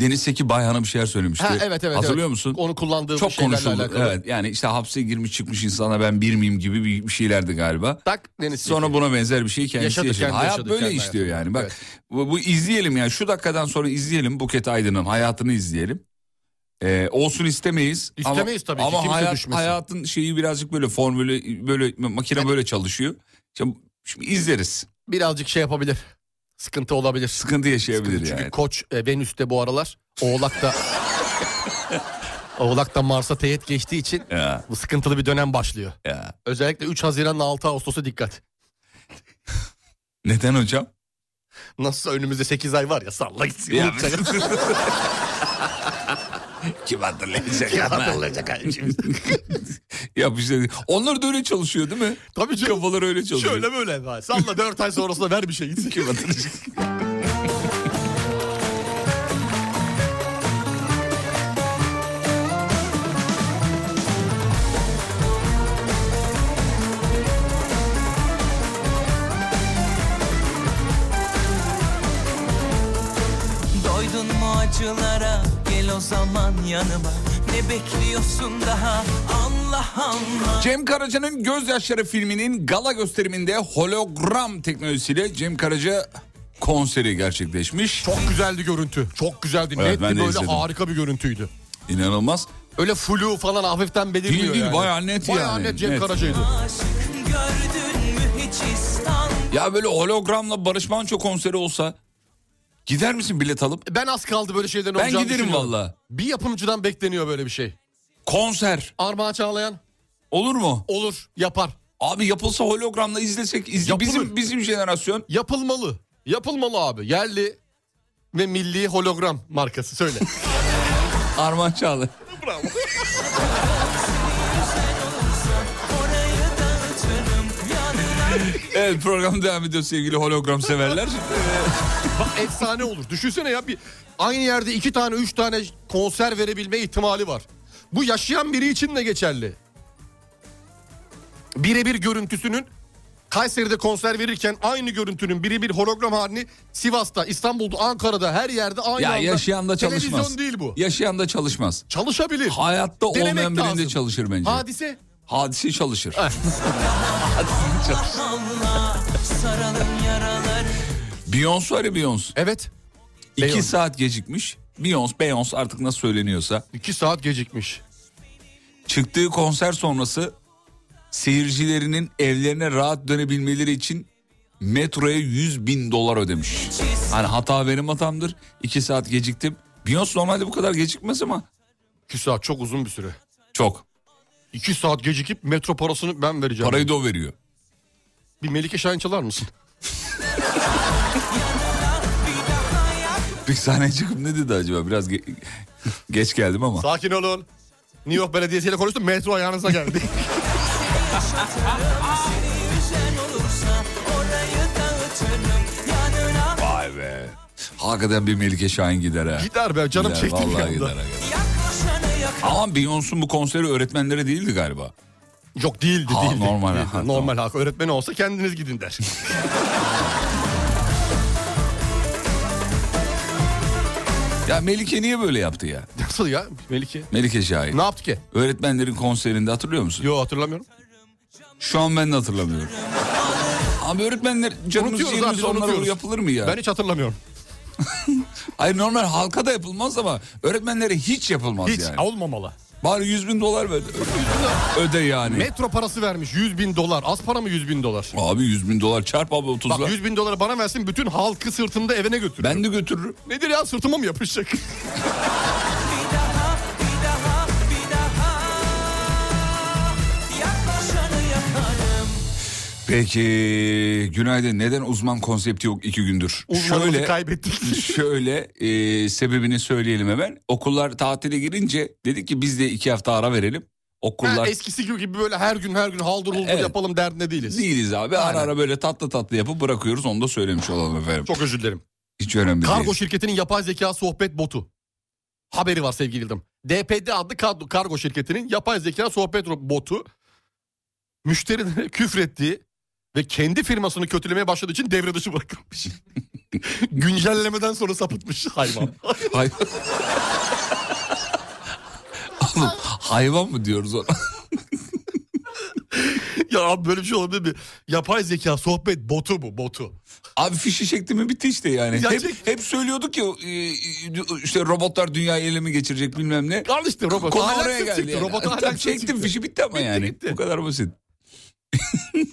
Speaker 3: Deniz Seki Bayhan'a bir şeyler söylemişti.
Speaker 4: Ha, evet evet.
Speaker 3: Hatırlıyor
Speaker 4: evet.
Speaker 3: musun?
Speaker 4: Onu kullandığı
Speaker 3: çok
Speaker 4: şeylerle
Speaker 3: konuşuldu.
Speaker 4: alakalı.
Speaker 3: Evet, yani işte hapse girmiş çıkmış insana ben bir miyim gibi bir, bir şeylerdi galiba.
Speaker 4: Tak deniz.
Speaker 3: Sonra buna benzer bir şey kendisi
Speaker 4: Yaşadı,
Speaker 3: yaşadı.
Speaker 4: kendi
Speaker 3: Hayat
Speaker 4: yaşadı,
Speaker 3: böyle
Speaker 4: kendi
Speaker 3: işliyor
Speaker 4: hayatı.
Speaker 3: yani. Bak
Speaker 4: Evet.
Speaker 3: bu, bu izleyelim yani şu dakikadan sonra izleyelim Buket Aydın'ın hayatını izleyelim. Ee, olsun istemeyiz.
Speaker 4: İstemeyiz
Speaker 3: ama,
Speaker 4: tabii ki,
Speaker 3: Ama
Speaker 4: kimse
Speaker 3: hayat-
Speaker 4: düşmesin.
Speaker 3: hayatın şeyi birazcık böyle formülü böyle makine böyle çalışıyor. Şimdi, şimdi izleriz.
Speaker 4: birazcık şey yapabilir. Sıkıntı olabilir.
Speaker 3: Sıkıntı yaşayabilir
Speaker 4: Çünkü
Speaker 3: yani.
Speaker 4: koç e, Venüs'te bu aralar. Oğlak da Oğlak da Mars'a teğet geçtiği için
Speaker 3: Ya,
Speaker 4: bu sıkıntılı bir dönem başlıyor.
Speaker 3: ya.
Speaker 4: Özellikle 3 Haziran'la 6 Ağustos'a dikkat.
Speaker 3: Neden hocam?
Speaker 4: Nasılsa önümüzde 8 ay var ya salla gitsin.
Speaker 3: Ya.
Speaker 4: unutacak.
Speaker 3: Kim hatırlayacak?
Speaker 4: Ya hatırlayacak abi şimdi.
Speaker 3: ya bir şey. Onlar da öyle çalışıyor değil mi?
Speaker 4: Tabii canım.
Speaker 3: Kafalar öyle çalışıyor.
Speaker 4: Şöyle böyle. var. Salla 4 ay sonrasında ver bir şey gitsin.
Speaker 3: Kim hatırlayacak?
Speaker 8: Doydun mu acılara gel o zaman yanıma Ne bekliyorsun daha Allah Allah
Speaker 3: Cem Karaca'nın Gözyaşları filminin gala gösteriminde hologram teknolojisiyle Cem Karaca konseri gerçekleşmiş.
Speaker 4: Çok güzeldi görüntü. Çok güzeldi.
Speaker 3: Evet,
Speaker 4: Net
Speaker 3: ben
Speaker 4: bir
Speaker 3: de
Speaker 4: böyle
Speaker 3: izledim.
Speaker 4: harika bir görüntüydü.
Speaker 3: İnanılmaz.
Speaker 4: Öyle flu falan hafiften belirliyor
Speaker 3: Değil, değil,
Speaker 4: yani.
Speaker 3: bayağı net
Speaker 4: Bayağı
Speaker 3: yani,
Speaker 4: net Cem
Speaker 3: net.
Speaker 4: Karaca'ydı.
Speaker 8: Aşık gördün mü hiç İstanbul
Speaker 3: Ya böyle hologramla Barış Manço konseri olsa gider misin bilet alıp?
Speaker 4: Ben az kaldı böyle şeylerin
Speaker 3: Ben
Speaker 4: olacağını
Speaker 3: giderim
Speaker 4: düşünüyorum.
Speaker 3: valla.
Speaker 4: Bir yapımcıdan bekleniyor böyle bir şey.
Speaker 3: Konser
Speaker 4: Armağan Çağlayan
Speaker 3: olur mu?
Speaker 4: olur yapar.
Speaker 3: Abi yapılsa hologramla izlesek izle.
Speaker 4: Yapılır.
Speaker 3: bizim bizim jenerasyon
Speaker 4: Yapılmalı. Yapılmalı abi. Yerli ve milli hologram markası söyle.
Speaker 3: Armağan Çağlayan. Evet program devam ediyor sevgili hologram severler.
Speaker 4: Efsane olur. Düşünsene ya bir aynı yerde iki tane üç tane konser verebilme ihtimali var. Bu yaşayan biri için de geçerli. Birebir görüntüsünün Kayseri'de konser verirken aynı görüntünün birebir hologram halini Sivas'ta, İstanbul'da, Ankara'da her yerde aynı
Speaker 3: Ya
Speaker 4: anda.
Speaker 3: yaşayan da çalışmaz.
Speaker 4: Televizyon değil bu.
Speaker 3: Yaşayan da çalışmaz.
Speaker 4: Çalışabilir.
Speaker 3: Hayatta
Speaker 4: Denemek
Speaker 3: olmayan birinde
Speaker 4: lazım.
Speaker 3: çalışır bence.
Speaker 4: Hadise
Speaker 3: Hadisi çalışır.
Speaker 8: saralım yaraları
Speaker 3: Beyoncé var ya Beyoncé.
Speaker 4: evet
Speaker 3: İki
Speaker 4: Beyoncé.
Speaker 3: saat gecikmiş. Beyoncé, Beyoncé artık nasıl söyleniyorsa.
Speaker 4: 2 saat gecikmiş.
Speaker 3: Çıktığı konser sonrası seyircilerinin evlerine rahat dönebilmeleri için metroya 100 bin dolar ödemiş. Hani hata benim hatamdır. İki saat geciktim. Beyoncé normalde bu kadar gecikmez ama
Speaker 4: 2 saat çok uzun bir süre.
Speaker 3: çok.
Speaker 4: 2 saat gecikip metro parasını ben vereceğim.
Speaker 3: Parayı da o veriyor.
Speaker 4: Bir Melike Şahin çalar mısın?
Speaker 3: Bir sahneye çıkıp ne dedi acaba? Biraz ge- geç geldim ama.
Speaker 4: Sakin olun. New York Belediyesi ile konuştum metro ayağınıza geldi.
Speaker 8: olursa orayı dağıtırım yanına
Speaker 3: Vay be. Hakikaten bir Melike Şahin gider ha.
Speaker 4: Gider be canım
Speaker 3: Gider,
Speaker 4: çekti bir
Speaker 3: vallahi
Speaker 4: anda.
Speaker 3: gider, hakikaten.
Speaker 8: yaklaşanı yak
Speaker 3: Ama Beyoncé'un bu konseri öğretmenlere değildi galiba.
Speaker 4: Yok değildi
Speaker 3: Ha,
Speaker 4: değildi.
Speaker 3: normal,
Speaker 4: Değildi.
Speaker 3: ha,
Speaker 4: normal hak. Öğretmeni olsa kendiniz gidin der.
Speaker 3: Ya Melike niye böyle yaptı ya?
Speaker 4: Nasıl ya Melike?
Speaker 3: Melike Şahin.
Speaker 4: Ne yaptı ki?
Speaker 3: Öğretmenlerin konserinde hatırlıyor musun?
Speaker 4: Yo hatırlamıyorum.
Speaker 3: Şu an ben de hatırlamıyorum. Abi öğretmenler canımız
Speaker 4: Unutuyoruz
Speaker 3: ciğerimiz
Speaker 4: abi,
Speaker 3: onlara
Speaker 4: unutuyoruz.
Speaker 3: yapılır mı ya?
Speaker 4: Ben hiç hatırlamıyorum.
Speaker 3: Hayır normal halka da yapılmaz ama öğretmenlere hiç yapılmaz
Speaker 4: Hiç
Speaker 3: yani.
Speaker 4: olmamalı.
Speaker 3: Bari 100 bin dolar ver. Öde yani.
Speaker 4: Metro parası vermiş 100 bin dolar. Az para mı 100 bin dolar?
Speaker 3: Abi 100 bin dolar çarp abi 30
Speaker 4: Bak 100 bin doları bana versin bütün halkı sırtımda evine götür.
Speaker 3: Ben de götürürüm.
Speaker 4: Nedir ya sırtıma mı yapışacak?
Speaker 3: Peki günaydın. Neden uzman konsepti yok iki gündür?
Speaker 4: Uzmanımızı
Speaker 3: Şöyle-
Speaker 4: kaybettik.
Speaker 3: Şöyle e, sebebini söyleyelim hemen. Okullar tatile girince dedik ki biz de iki hafta ara verelim.
Speaker 4: Ha,
Speaker 3: Okullar
Speaker 4: eskisi gibi böyle her gün her gün haldır huldur
Speaker 3: Evet.
Speaker 4: yapalım derdinde değiliz.
Speaker 3: değiliz abi. Ara ara böyle tatlı tatlı yapıp bırakıyoruz. Onu da söylemiş olalım efendim.
Speaker 4: Çok özür dilerim.
Speaker 3: Hiç önemli
Speaker 4: Kargo
Speaker 3: değil.
Speaker 4: şirketinin yapay zeka sohbet botu. Haberi var sevgili Yıldırım. DPD adlı kadro- kargo şirketinin yapay zeka sohbet ro- botu müşterilere küfrettiği ve kendi firmasını kötülemeye başladığı için devre dışı bırakılmış. Güncellemeden sonra sapıtmış hayvan.
Speaker 3: Hay- Oğlum, hayvan mı diyoruz ona?
Speaker 4: ya abi böyle bir şey olabilir mi? Yapay zeka sohbet botu bu botu.
Speaker 3: Abi fişi çekti mi bitti işte yani.
Speaker 4: Ya şey-
Speaker 3: hep,
Speaker 4: çek-
Speaker 3: hep söyluyorduk ya e, işte robotlar dünyayı ele mi geçirecek bilmem ne.
Speaker 4: Al işte robot.
Speaker 3: Konu
Speaker 4: Ahlaksız
Speaker 3: oraya geldi.
Speaker 4: çıktı,
Speaker 3: Yani.
Speaker 4: robot
Speaker 3: Tamam,
Speaker 4: ahlaksız
Speaker 3: çektim
Speaker 4: çıktı.
Speaker 3: fişi bitti ama
Speaker 4: Bitti,
Speaker 3: yani.
Speaker 4: gitti.
Speaker 3: Bu kadar basit.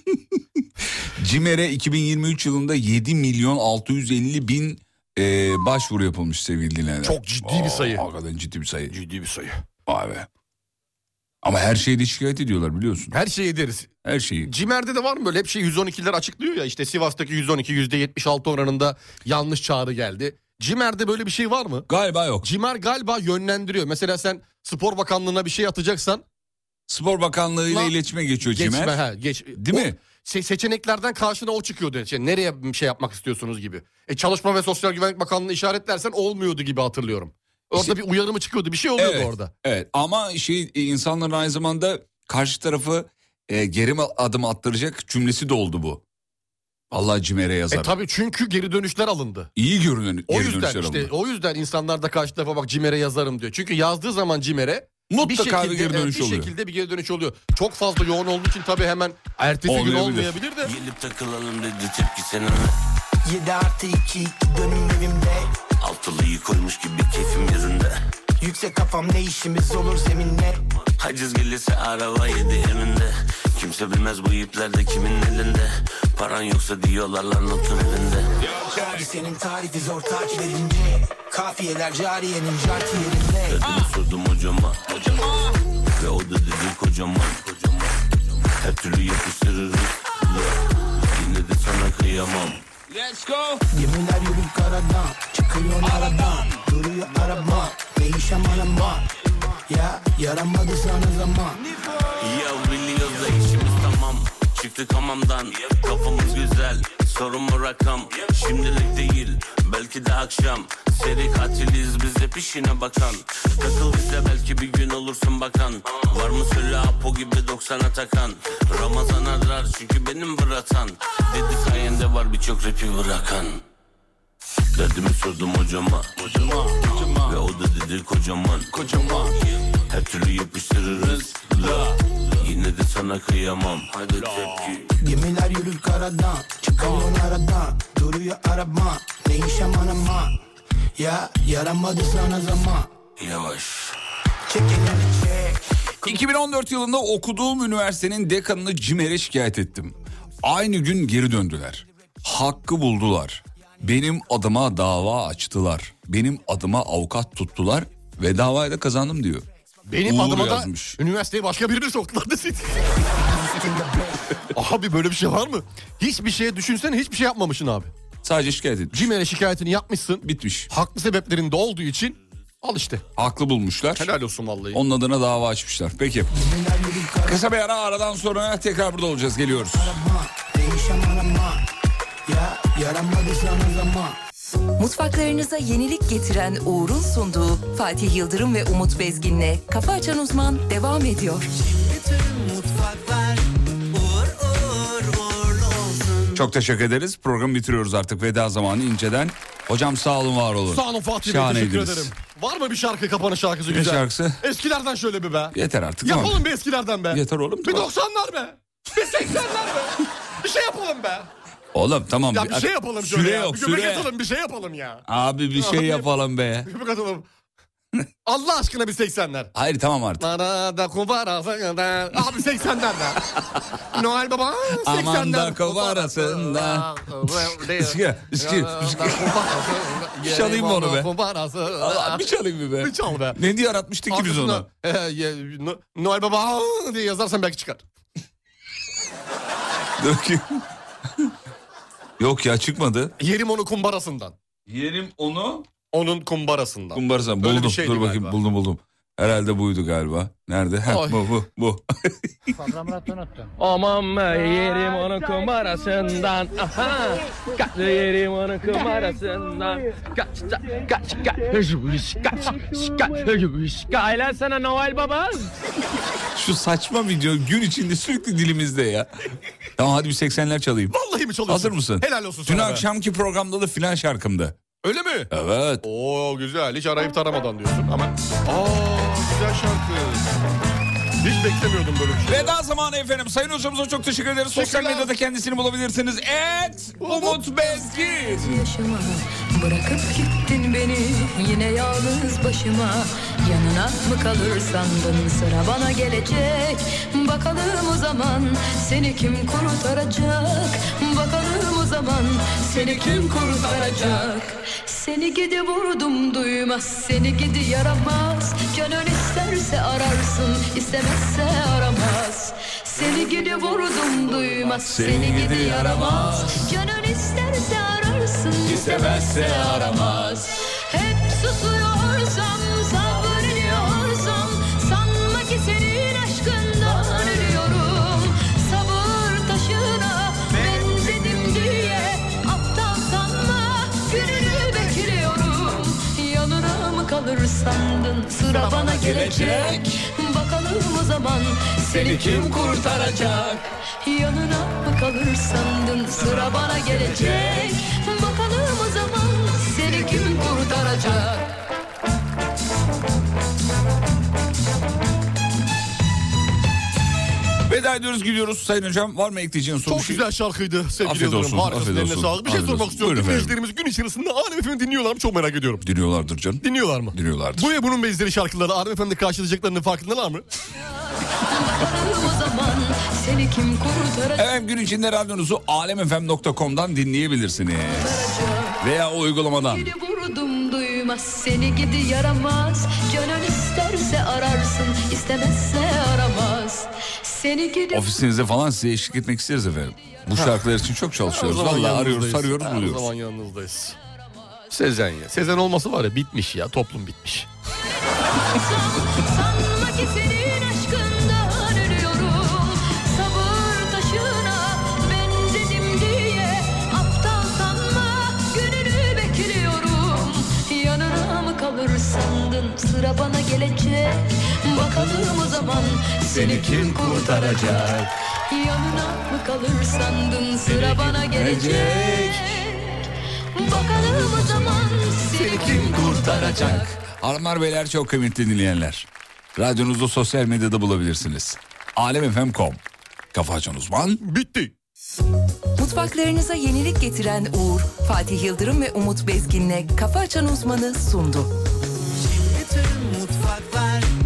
Speaker 3: Cimer'e 2023 yılında 7 milyon 650 bin e, başvuru yapılmış sevgili dinleyenler.
Speaker 4: Çok ciddi bir sayı.
Speaker 3: Hakikaten ciddi bir sayı.
Speaker 4: Ciddi bir sayı.
Speaker 3: Vay be. Ama her şeyi de şikayet ediyorlar biliyorsun.
Speaker 4: Her şeyi ederiz.
Speaker 3: Her şeyi.
Speaker 4: Cimer'de de var mı böyle hep şey 112'ler açıklıyor ya işte Sivas'taki 112 %76 oranında yanlış çağrı geldi. Cimer'de böyle bir şey var mı?
Speaker 3: Galiba yok.
Speaker 4: Cimer galiba yönlendiriyor. Mesela sen Spor Bakanlığı'na bir şey atacaksan
Speaker 3: Spor Bakanlığı ile
Speaker 4: La-
Speaker 3: iletişime geçiyor
Speaker 4: geçme
Speaker 3: Cimer.
Speaker 4: ha geç.
Speaker 3: Değil
Speaker 4: O-
Speaker 3: mi?
Speaker 4: se- seçeneklerden karşına o çıkıyordu. Yani nereye bir şey yapmak istiyorsunuz gibi. E Çalışma ve Sosyal Güvenlik Bakanlığı'nı işaretlersen olmuyordu gibi hatırlıyorum. Orada
Speaker 3: İşte-
Speaker 4: bir uyarı mı çıkıyordu? Bir şey oluyordu orada.
Speaker 3: Evet ama şey insanların aynı zamanda karşı tarafı e, geri adım attıracak cümlesi de oldu bu. Allah Cimer'e yazar.
Speaker 4: E tabii çünkü geri dönüşler alındı.
Speaker 3: İyi görünen
Speaker 4: O
Speaker 3: geri
Speaker 4: yüzden
Speaker 3: dönüşler
Speaker 4: işte
Speaker 3: alındı.
Speaker 4: o yüzden insanlar da karşı tarafa bak Cimer'e yazarım diyor. Çünkü yazdığı zaman Cimer'e bir
Speaker 3: Mutlaka
Speaker 4: şekilde,
Speaker 3: bir geri
Speaker 4: evet,
Speaker 3: dönüş
Speaker 4: bir
Speaker 3: oluyor.
Speaker 4: şekilde bir geri dönüş oluyor. Çok fazla yoğun olduğu için tabii hemen ertesi gün
Speaker 3: Olmayabilir.
Speaker 4: olmayabilir de.
Speaker 15: Gelip takılalım dedi tepki senin
Speaker 8: 7 artı 2 dönüm evimde
Speaker 15: Altılıyı koymuş gibi keyfim yerinde
Speaker 8: Yüksek kafam ne işimiz olur zeminle
Speaker 15: Haciz gelirse araba yedi önünde Kimse bilmez bu iplerde kimin elinde Paran yoksa diyorlar lan otur evinde
Speaker 8: Abi senin tarifi zor takip edince Kafiyeler cariyenin jarki yerinde
Speaker 15: Dedim sordum hocama Ve o da dedi kocaman Her türlü yapıştırırız Yine de sana kıyamam
Speaker 8: Gemiler yürüp karadan Çıkıyor aradan Duruyor araba Değişen araba Ya yaramadı sana zaman
Speaker 15: Ya biliyoruz da işimiz tamam Çıktık hamamdan Kafamız güzel Sorun mu rakam Şimdilik değil Belki de akşam Seri katiliz biz de pişine bakan Takıl bize belki bir gün olursun bakan Var mı söyle Apo gibi 90'a takan Ramazan arar çünkü benim bıratan Dedi sayende var birçok rapi bırakan Derdimi sordum hocama Ve o da dedi kocaman Kocaman Her türlü yapıştırırız La Yine de sana kıyamam Hadi tepki
Speaker 8: Gemiler yürür karadan Çıkıyor aradan Duruyor araba Değişen araba Ya yaramadı sana zaman
Speaker 15: Yavaş
Speaker 8: Çek elini çek
Speaker 3: 2014 yılında okuduğum üniversitenin dekanını Cimer'e şikayet ettim. Aynı gün geri döndüler. Hakkı buldular. Benim adıma dava açtılar. Benim adıma avukat tuttular ve davayı da kazandım diyor.
Speaker 4: Benim
Speaker 3: Uğur
Speaker 4: adıma
Speaker 3: yazmış.
Speaker 4: da üniversiteye başka birini soktular desin. abi böyle bir şey var mı? Hiçbir şeye düşünsene hiçbir şey yapmamışsın abi.
Speaker 3: Sadece şikayet etmiş.
Speaker 4: Cimer'e şikayetini yapmışsın.
Speaker 3: Bitmiş.
Speaker 4: Haklı sebeplerinde olduğu için al işte.
Speaker 3: Haklı bulmuşlar.
Speaker 4: Helal olsun vallahi.
Speaker 3: Onun adına dava açmışlar. Peki. Kısa bir ara aradan sonra tekrar burada olacağız. Geliyoruz.
Speaker 8: araba Değişen araba Ya yaramadı sana zaman
Speaker 9: Mutfaklarınıza yenilik getiren Uğur'un sunduğu Fatih Yıldırım ve Umut Bezgin'le Kafa Açan Uzman devam ediyor.
Speaker 3: Çok teşekkür ederiz. Programı bitiriyoruz artık. Veda zamanı inceden. Hocam sağ olun var olun.
Speaker 4: Sağ olun Fatih Bey
Speaker 3: Şahaneydiniz.
Speaker 4: teşekkür ederim. Var mı bir şarkı kapanış şarkısı
Speaker 3: Ne
Speaker 4: güzel?
Speaker 3: şarkısı?
Speaker 4: Eskilerden şöyle bir be.
Speaker 3: Yeter artık.
Speaker 4: Yapalım
Speaker 3: tamam.
Speaker 4: bir eskilerden be.
Speaker 3: Yeter oğlum,
Speaker 4: Bir
Speaker 3: tamam.
Speaker 4: 90'lar be. Bir 80'ler be. bir şey yapalım be.
Speaker 3: Oğlum tamam.
Speaker 4: Ya bir şey yapalım
Speaker 3: süre
Speaker 4: şöyle ya.
Speaker 3: yok
Speaker 4: bir göbek
Speaker 3: süre.
Speaker 4: atalım bir şey yapalım ya.
Speaker 3: Abi bir şey yapalım be.
Speaker 4: Göbek atalım. Allah aşkına bir 80'ler.
Speaker 3: Hayır tamam artık.
Speaker 4: Bana da kubara sana- Abi 80'ler be. Noel Baba 80'ler.
Speaker 3: Aman da kova arasında. Bir şey- Bir çalayım mı onu be? Allah, Bir çalayım mı be?
Speaker 4: Bir çal be.
Speaker 3: Ne diye aratmıştık ki biz
Speaker 4: Arkasına,
Speaker 3: onu?
Speaker 4: e, e, No- Noel Baba diye yazarsan belki çıkar.
Speaker 3: Dur bakayım. Yok ya çıkmadı.
Speaker 4: Yerim onu kumbarasından.
Speaker 3: Yerim onu.
Speaker 4: Onun kumbarasından.
Speaker 3: Kumbarsan
Speaker 4: Öyle bir
Speaker 3: buldum.
Speaker 4: şeydi
Speaker 3: Dur bakayım
Speaker 4: galiba.
Speaker 3: buldum buldum. Herhalde buydu galiba. Nerede? Heh,
Speaker 4: Ay.
Speaker 3: bu bu bu.
Speaker 8: Aman be yerim onu kum arasından Aha Kaç yerim onu kum arasından Kaç kaç kaç kaç Kaç kaç kaç Kaç sana Noel Baba
Speaker 3: Şu saçma video gün içinde sürekli dilimizde ya. tamam hadi bir 80'ler çalayım.
Speaker 4: Vallahi mi çalıyorsun?
Speaker 3: Hazır mısın?
Speaker 4: Helal olsun
Speaker 3: Dün
Speaker 4: sana be.
Speaker 3: akşamki programda da filan şarkımdı.
Speaker 4: Öyle mi?
Speaker 3: Evet.
Speaker 4: Oo güzel. Hiç arayıp taramadan diyorsun ama. Aa güzel şarkı. Hiç beklemiyordum böyle bir şey.
Speaker 3: Veda zamanı efendim. Sayın hocamıza çok teşekkür ederiz. Sosyal
Speaker 4: Teşekkürler.
Speaker 3: medyada kendisini bulabilirsiniz. Et Umut Bezgin.
Speaker 9: yaşamadım Bırakıp gittin beni yine yalnız başıma Yanına mı kalır sandın sıra bana gelecek Bakalım o zaman seni kim kurtaracak Bakalım o zaman seni kim kurtaracak Seni gidi vurdum duymaz seni gidi yaramaz Canın isterse ararsın istemezse aramaz Seni gidi vurdum duymaz seni gidi yaramaz Canın isterse ararsın, istemezse aramaz. Hep susuyorsam, sabrediyorsam, sanma ki senin aşkından ölüyorum. Sabır taşına benzedim diye, aptal sanma, gününü bekliyorum. Yanına mı kalır sandın, sıra bana gelecek. Bakalım o zaman seni kim kurtaracak? Yanına mı kalır sandın sıra bana gelecek Bakalım o zaman seni kim kurtaracak
Speaker 3: Veda ediyoruz gidiyoruz Sayın Hocam. Var mı ekleyeceğin soru?
Speaker 4: Çok
Speaker 3: bir şey?
Speaker 4: güzel şarkıydı sevgili
Speaker 3: Afiyet
Speaker 4: Yıldırım.
Speaker 3: olsun,
Speaker 4: Harikasın,
Speaker 3: afiyet
Speaker 4: eline
Speaker 3: olsun.
Speaker 4: sağlık. Bir şey
Speaker 3: Afiyet
Speaker 4: sormak
Speaker 3: olsun.
Speaker 4: istiyorum.
Speaker 3: Buyurun efendim.
Speaker 4: Dinleyicilerimiz gün içerisinde Alem Efe'mi dinliyorlar mı? Çok merak ediyorum.
Speaker 3: Dinliyorlardır canım.
Speaker 4: Dinliyorlar mı?
Speaker 3: Dinliyorlardır.
Speaker 4: Bu ve bunun benzeri şarkıları Alem Efe'mde karşılayacaklarının farkındalar mı?
Speaker 9: Bakalım o zaman seni kim kurtaracak
Speaker 3: Efendim gün içinde radyonuzu alemfm.com'dan dinleyebilirsiniz. Veya o uygulamadan.
Speaker 9: Gidi vurdum duymaz seni gidi yaramaz Canın isterse ararsın istemezse aramaz Seni gidi
Speaker 3: Ofisinizde falan size eşlik etmek isteriz efendim. Bu şarkılar için çok çalışıyoruz. Vallahi arıyoruz,
Speaker 4: yanınızdayız.
Speaker 3: arıyoruz,
Speaker 4: Her
Speaker 3: buluyoruz.
Speaker 4: zaman yanınızdayız. Sezen ya. Sezen olması var ya bitmiş ya. Toplum bitmiş.
Speaker 2: Sanma ki senin aşkından ölüyorum Sabır taşına benzedim diye Aptal sanma gününü bekliyorum Yanına mı kalır sandın sıra bana gelecek Bakalım o zaman seni kim kurtaracak Yanına mı kalır sandın sıra bana gelecek Bakalım o zaman seni kim kurtaracak
Speaker 3: Hanımlar beyler çok kıymetli dinleyenler. Radyonuzu sosyal medyada bulabilirsiniz. Alemfm.com Kafa Açan Uzman
Speaker 4: Bitti.
Speaker 9: Mutfaklarınıza yenilik getiren Uğur, Fatih Yıldırım ve Umut Bezgin'le Kafa Açan Uzman'ı sundu.
Speaker 8: Bütün mutfaklar